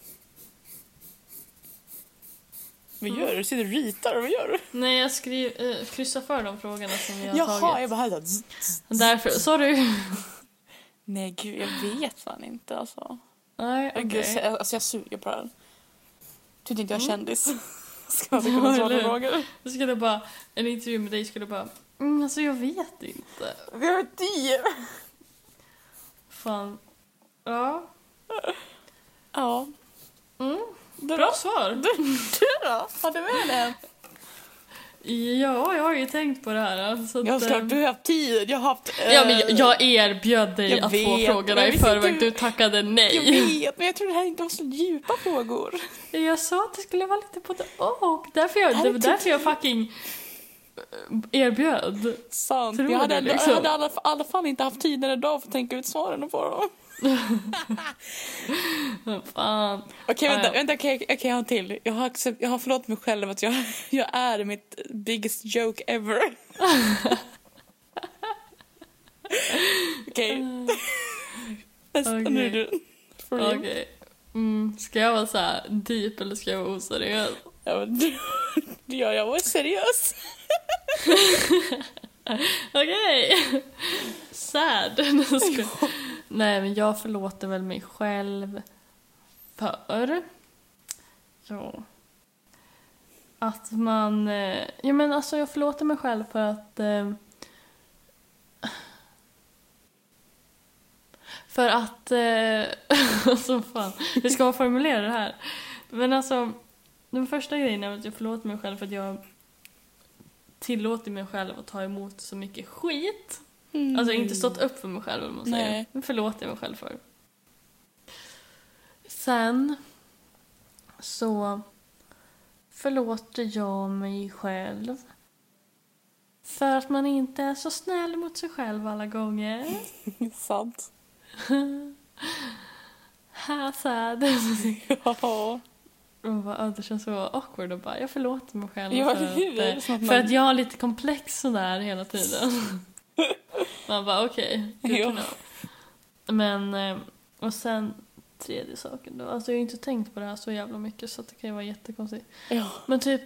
Vad gör du? Du Sitter och ritar? Vad gör du?
Nej, jag skriv, eh, kryssar för de frågorna som vi har
Jaha,
tagit.
jag bara... här så här, zzz, zzz.
Därför, sorry.
Nej, gud, jag vet fan inte alltså.
Nej,
Jag-
okej.
Jag, alltså jag suger på det här. Typ inte jag är
Mm.
kändis. Ska man kunna
Ja,
svara
eller
på frågor?
Jag skulle bara, en intervju med dig skulle bara, mm, alltså jag vet inte.
Vi har tio!
Fan. Ja.
Ja.
Mm.
Du
Bra
då?
svar.
Du, du då? Har du med dig?
Ja, jag har ju tänkt på det här. Så att,
Jag har
eh,
såklart du har haft tid. Jag har haft... eh,
Ja, men jag, jag erbjöd dig
Jag
att få
vet,
frågorna
men
i
visst är
förväg.
du-
Du tackade
jag
nej.
vet, men jag tror det här inte var så djupa frågor.
Jag, sa att det skulle vara lite både och. Därför jag,
Nej,
det var
typ-
därför jag fucking eh, erbjöd.
Sant.
Tror
jag
du
hade, ändå-
liksom?
jag hade i alla, fall- i alla fall inte haft tiden idag för att tänka ut svaren på dem.
Fan.
Okej,
Ah,
vänta,
ja.
vänta, okej, okej, jag har en till. Jag har, accept, jag har förlåtit mig själv att jag, jag är mitt biggest joke ever. okej, nästa
Eh. okej.
nu är du. For
Okej.
real.
Mm, ska jag vara så här deep eller ska jag vara oseriös?
Ja, men du- ja, jag var seriös.
Okej! Sad. Nej, jag skojar. Nej, men jag förlåter väl mig själv för... Ja. Att man... eh, Ja, men alltså jag förlåter mig själv för att... eh, För att... eh, Alltså fan, hur ska man formulera det här? Men alltså, den första grejen är att jag förlåter mig själv för att jag tillåter mig själv att ta emot så mycket skit.
Mm,
Alltså inte stått upp för mig själv om man säger.
Nej.
Det förlåter jag mig själv för. Sen så förlåter jag mig själv för att man inte är så snäll mot sig själv alla gånger.
Sant.
Ha, sad.
Ja.
Och man bara, "Åh, det känns så awkward och bara, jag förlåter mig själv
Ja,
för,
det är
att, eh,
som att
för
man-
att jag har lite komplex sådär hela tiden. man bara, okej, good to
Ja.
know. Men, eh, och sen tredje saken då, alltså jag har ju inte tänkt på det här så jävla mycket så att det kan ju vara jättekonstigt.
ja.
Men typ,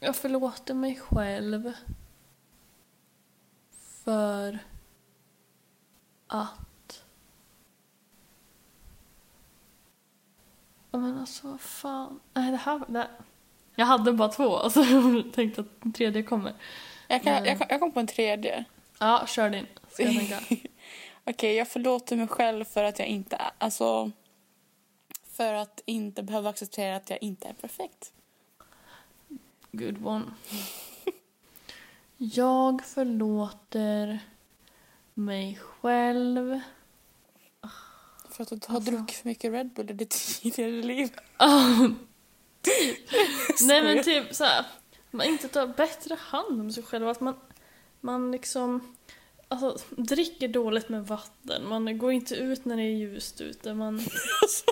jag förlåter mig själv för att... Ja, Men alltså, vad fan. Nej, det här, det här... Jag hade bara två, alltså jag tänkte att den tredje kommer.
Jag, kan,
Mm.
jag, kom- jag kom på en tredje.
Ja, kör din. Ska jag tänka.
Okej, jag förlåter mig själv för att jag inte är... Alltså, för att inte behöva acceptera att jag inte är perfekt.
Good one. Jag förlåter mig själv
För att du har
Alltså.
druckit för mycket Red Bull i ditt tidigare liv.
Ja, typ. Nej men typ såhär, man inte tar bättre hand om sig själv. Att man, man liksom alltså, dricker dåligt med vatten, man går inte ut när det är ljust ute, man... Alltså.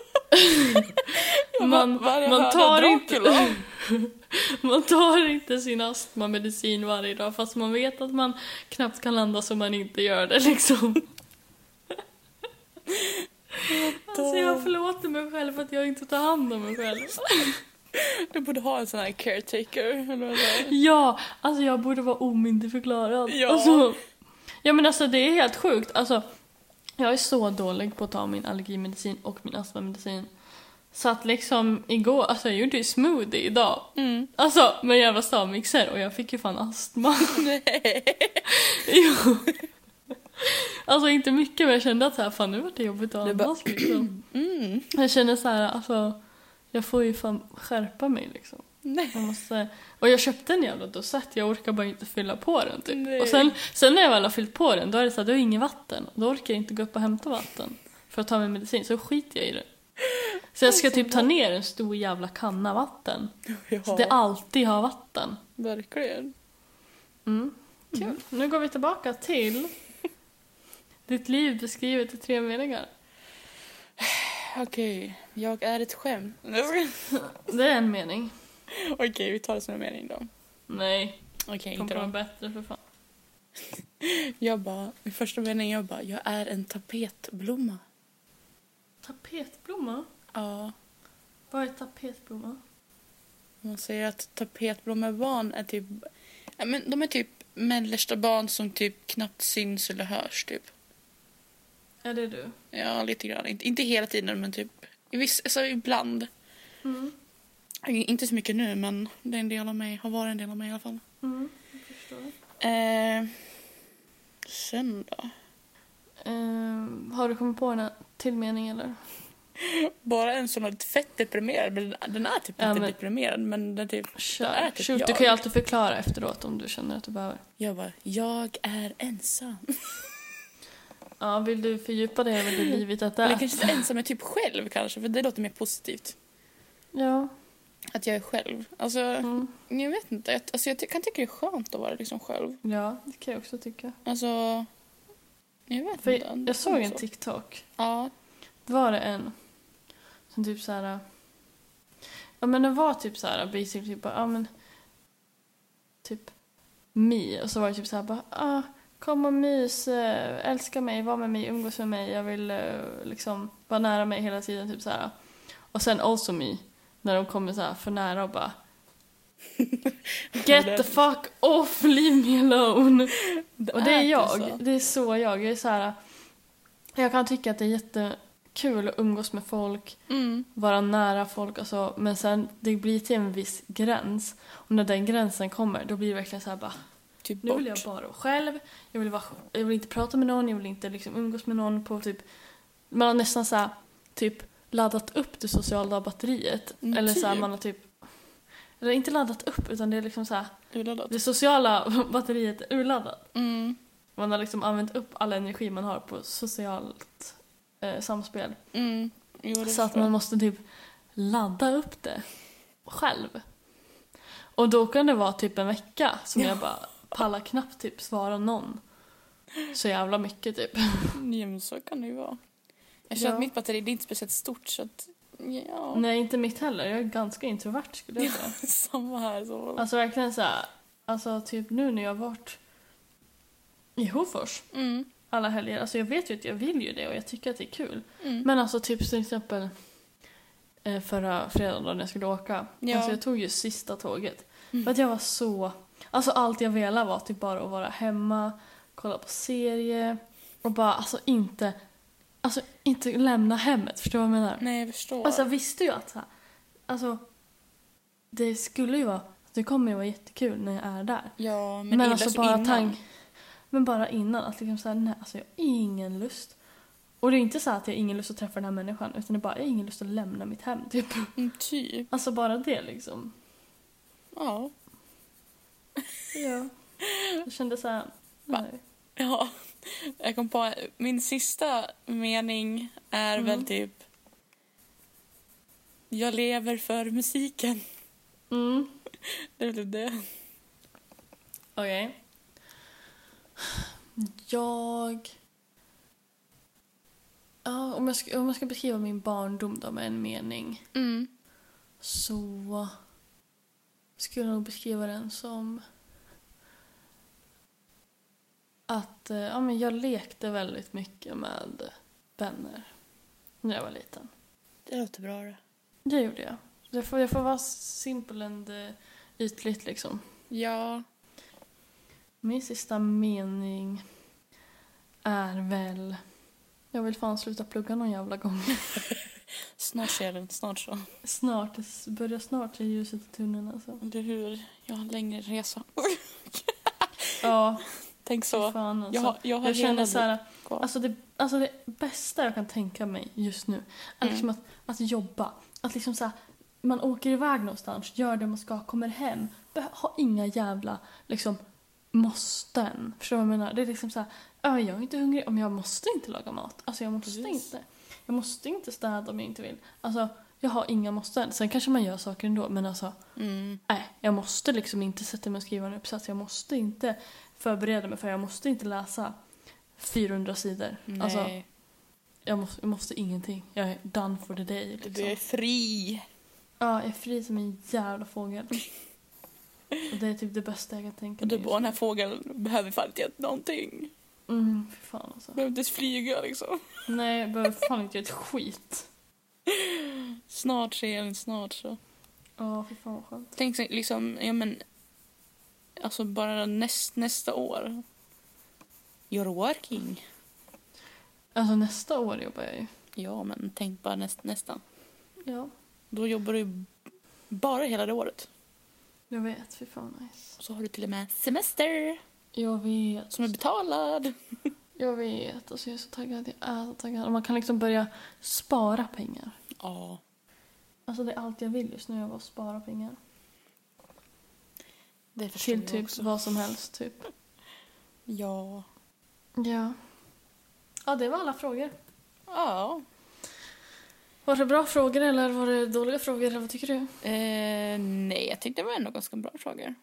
man, man, tar inte, man tar inte sin astmamedicin varje dag fast man vet att man knappt kan landas om man inte gör det liksom. Alltså jag förlåter mig själv för att jag inte tar hand om mig själv.
Du borde ha en sån här caretaker. Eller vad det är.
Ja, alltså jag borde vara omyndigförklarad.
Ja.
Alltså, ja men alltså det är helt sjukt. Alltså, jag är så dålig på att ta min allergimedicin och min astmamedicin. Så att liksom igår, alltså jag gjorde ju smoothie idag.
Mm.
Alltså med jävla stavmixer och jag fick ju fan astma.
Nej.
Jo. Alltså inte mycket men jag kände att så här, fan nu vart det jobbigt att
Du bara-
andas liksom.
Mm.
Jag kände så här, alltså jag får ju fan skärpa mig liksom.
Nej.
Jag måste... Och jag köpte en jävla dosett, jag orkar bara inte fylla på den typ.
Nej.
Och sen, sen när jag väl har fyllt på den, då är det så här, då är det inget vatten. Då orkar jag inte gå upp och hämta vatten för att ta min medicin, så skiter jag i det. Så jag ska typ ta ner en stor jävla kanna vatten. Så
Ja,
det alltid har vatten.
verkligen.
Mm. Kul. Nu går vi tillbaka till ditt liv beskrivet i tre meningar.
Okej, jag är ett skämt.
Det är en mening.
Okej, vi tar det som en mening då.
Nej,
Okej,
kom
inte
på en
då.
bättre för fan.
Jag bara, min första mening jag bara, jag är en tapetblomma.
Tapetblomma?
Ja,
Vad är tapetblomma?
man säger att tapetblommorbarn är typ, ja, men de är typ mellersta barn som typ knappt syns eller hörs typ.
Är det du?
Ja, lite grann. Inte, inte hela tiden, men typ i viss, alltså, ibland.
Mm.
Inte så mycket nu, men det är en del av mig. Har varit en del av mig i alla fall.
Mm, jag förstår.
Eh, sen då?
Eh, har du kommit på en till mening eller?
Bara en som är lite fett deprimerad. Men den, den är typ
Ja,
inte
men-
deprimerad men den typ...
Kör.
Det är typ
Shoot, du
jag.
kan ju alltid förklara efteråt om du känner att du behöver.
Jag bara, jag är ensam.
Ja, vill du fördjupa dig över det livet att det
Eller
är?
kanske inte ensam är typ själv kanske för det låter mer positivt.
Ja.
Att jag är själv. Alltså,
Mm.
jag vet inte. Jag, alltså, jag ty- kan tycka det är skönt att vara liksom själv.
Ja, det kan jag också tycka.
Alltså, jag vet
För
inte.
jag, jag såg en TikTok.
Ja,
Då var det en som typ så här... Ja, men den var typ så här basically typ bara, ja men... Typ me. Och så var det typ så här bara, ah, kom och mys, eh, älska mig, var med mig, umgås med mig, jag vill eh, liksom vara nära mig hela tiden, typ så här. Och sen also me, när de kommer så här för nära och bara Get the fuck off, leave me alone! Och det är
ju
jag.
så.
Det är så jag. Jag är så här. Jag kan tycka att det är jättekul att umgås med folk,
Mm.
vara nära folk och så, men sen det blir till en viss gräns. Och när den gränsen kommer, då blir det verkligen så här bara,
Typ
nu
bort.
vill jag bara vara själv, jag vill, vara, jag vill inte prata med någon, jag vill inte liksom umgås med någon på typ, man har nästan så här, typ laddat upp det sociala batteriet.
Mm,
Eller så här,
typ.
man har typ, eller inte laddat upp, utan det är liksom så här,
Du vill ha något?
det sociala batteriet är urladdat.
Mm.
Man har liksom använt upp all energi man har på socialt eh, samspel.
Mm. Jo, det
Så att
förstår jag.
man måste typ ladda upp det själv. Och då kan det vara typ en vecka som jag bara pallar knappt typ svara någon. Så jävla mycket typ.
Ja, men så kan det ju vara. Jag känner
Ja.
att mitt batteri det är inte speciellt stort så att... Ja.
Nej, inte mitt heller. Jag är ganska introvert skulle jag säga.
Samma här. Så.
Alltså verkligen så här, alltså typ nu när jag har varit i Hofors
Mm.
alla helger, alltså jag vet ju att jag vill ju det och jag tycker att det är kul.
Mm.
Men alltså typ till exempel eh, förra fredagen då när jag skulle åka.
Ja.
Alltså jag tog ju sista tåget.
Mm.
För att jag var så... Alltså allt jag velade var typ bara att vara hemma, kolla på serie och bara alltså inte... Alltså inte lämna hemmet, förstår du vad jag menar?
Nej, jag förstår.
Alltså jag visste ju att så här, alltså det skulle ju vara, det kommer ju vara jättekul när jag är där.
ja, men,
Men,
illa
alltså
som
bara
innan.
tank... Men bara innan, att liksom såhär, nej alltså jag har ingen lust. Och det är inte så här att jag har ingen lust att träffa den här människan utan det är bara, jag har ingen lust att lämna mitt hem typ.
Mm, typ.
Alltså bara det liksom.
Ja.
Ja. Jag kände såhär,
Va?
nej.
Ja, jag kom på min sista mening är
Mm.
väl typ Jag lever för musiken.
Mm,
Det är väl typ det.
okej. Jag... Ja, om jag, ska, om jag ska beskriva min barndom då med en mening Mm. så skulle jag nog beskriva den som att eh, ja, men jag lekte väldigt mycket med vänner när jag var liten.
Det låter bra det.
Det gjorde jag. Jag får, jag får vara simpel and eh, ytligt liksom.
Ja.
Min sista mening är väl... Jag vill fan sluta plugga någon jävla gång.
Snart ser det, snart så.
Snart, börja snart i ljuset i tunneln alltså.
Eller hur? Jag har en längre resa.
Ja,
Tänk
så.
så.
fan alltså.
Jag har, jag har
jag känner
hela
så här,
livet kvar.
Alltså det, alltså det bästa jag kan tänka mig just nu är
Mm.
liksom att, att jobba. Att liksom så här, man åker iväg någonstans, gör det man ska, kommer hem. Beh- ha inga jävla liksom måsten. Förstår du vad jag menar? Det är liksom så här, "Ja, jag är inte hungrig om jag måste inte laga mat. Alltså jag måste
Precis.
inte. Jag måste inte städa om jag inte vill. Alltså jag har inga måsten. Sen kanske man gör saker ändå men alltså
mm.
nej, jag måste liksom inte sätta mig och skriva en uppsats. Jag måste inte förbereda mig för jag måste inte läsa 400 sidor.
Nej.
Alltså, jag måste, jag måste ingenting. Jag är done for the day.
du är
Liksom.
fri.
Ja, jag är fri som en jävla fågel. Och det är typ det bästa jag kan tänka
Och du
mig just
bara, den
nu.
här fågeln behöver fan inte göra någonting.
Mm, för fan alltså.
Behöver inte ens flyga liksom.
Nej, jag behöver fan inte göra ett skit.
Snart ser det, snart så.
Ja, för fan vad skönt.
Tänk sig liksom, ja men... Alltså bara näst, nästa år. You're working.
Alltså nästa år jobbar jag ju.
Ja, men tänk bara näst, nästan.
Ja,
Då jobbar du bara hela det året.
jag vet. Fy fan nice.
Och så har du till och med semester
Jag vet.
som är betalad.
Jag vet, alltså jag är så taggad. Jag är så taggad. Och man kan liksom börja spara pengar.
Ja.
Alltså det är allt jag vill just nu, är att spara pengar.
Det
Till typ vad som helst, typ.
Ja.
Ja. Ja, det var alla frågor.
Ja.
Var det bra frågor eller var det dåliga frågor? Eller vad tycker du?
Eh, nej, jag tyckte det var ändå ganska bra frågor.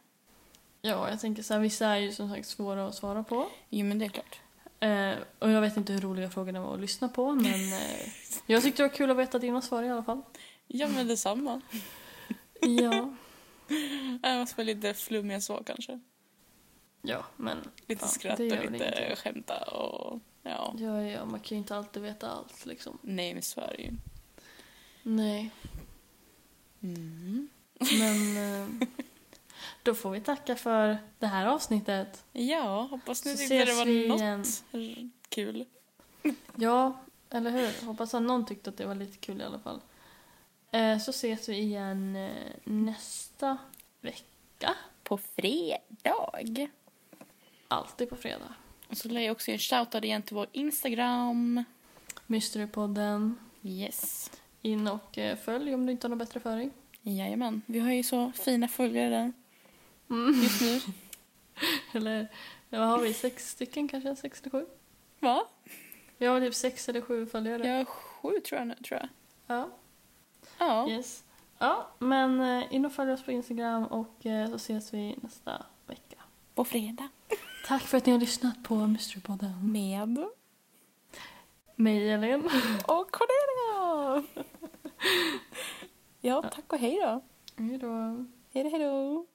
Ja, jag tänker så här, vissa är ju som sagt svåra att svara på.
Jo, men det är klart.
Eh, och jag vet inte hur roliga frågorna var att lyssna på, men eh, jag tyckte det var kul att veta dina svar i alla fall.
Ja, men detsamma.
Ja.
Även fast med lite flummiga svar kanske.
Ja, men
Lite
Ja,
skratt
det gör
och
väl
lite
ingenting.
skämta och ja.
ja, ja, man kan ju inte alltid veta allt liksom.
Nej, men så är det ju.
Nej,
Mm.
men eh, då får vi tacka för det här avsnittet.
Ja, hoppas ni
Så
tyckte det
ses
var
vi
något
igen.
r- kul.
Ja, eller hur? Hoppas att någon tyckte att det var lite kul i alla fall. Eh, så ses vi igen eh, nästa vecka.
På fredag.
Alltid på fredag.
Och så lägger jag också en shoutout igen till vår Instagram.
Mysterypodden.
Yes.
In och eh, följ om du inte har något bättre för dig.
Jajamän. Vi har ju så fina följare där
Mm.
just nu.
Eller vad har vi? Sex stycken kanske? Sex eller sju?
Va?
Vi har typ sex eller sju följare.
Jag har sju tror jag nu, tror jag.
Ja.
Ja.
Yes. Ja, men eh, in och följ oss på Instagram och eh, så ses vi nästa vecka.
På fredag.
Tack för att ni har lyssnat på Mysterypodden.
Med.
Mig, Elin.
Och Cornelia! Ja, tack och hej då.
Hej då.
Hej då, hej då.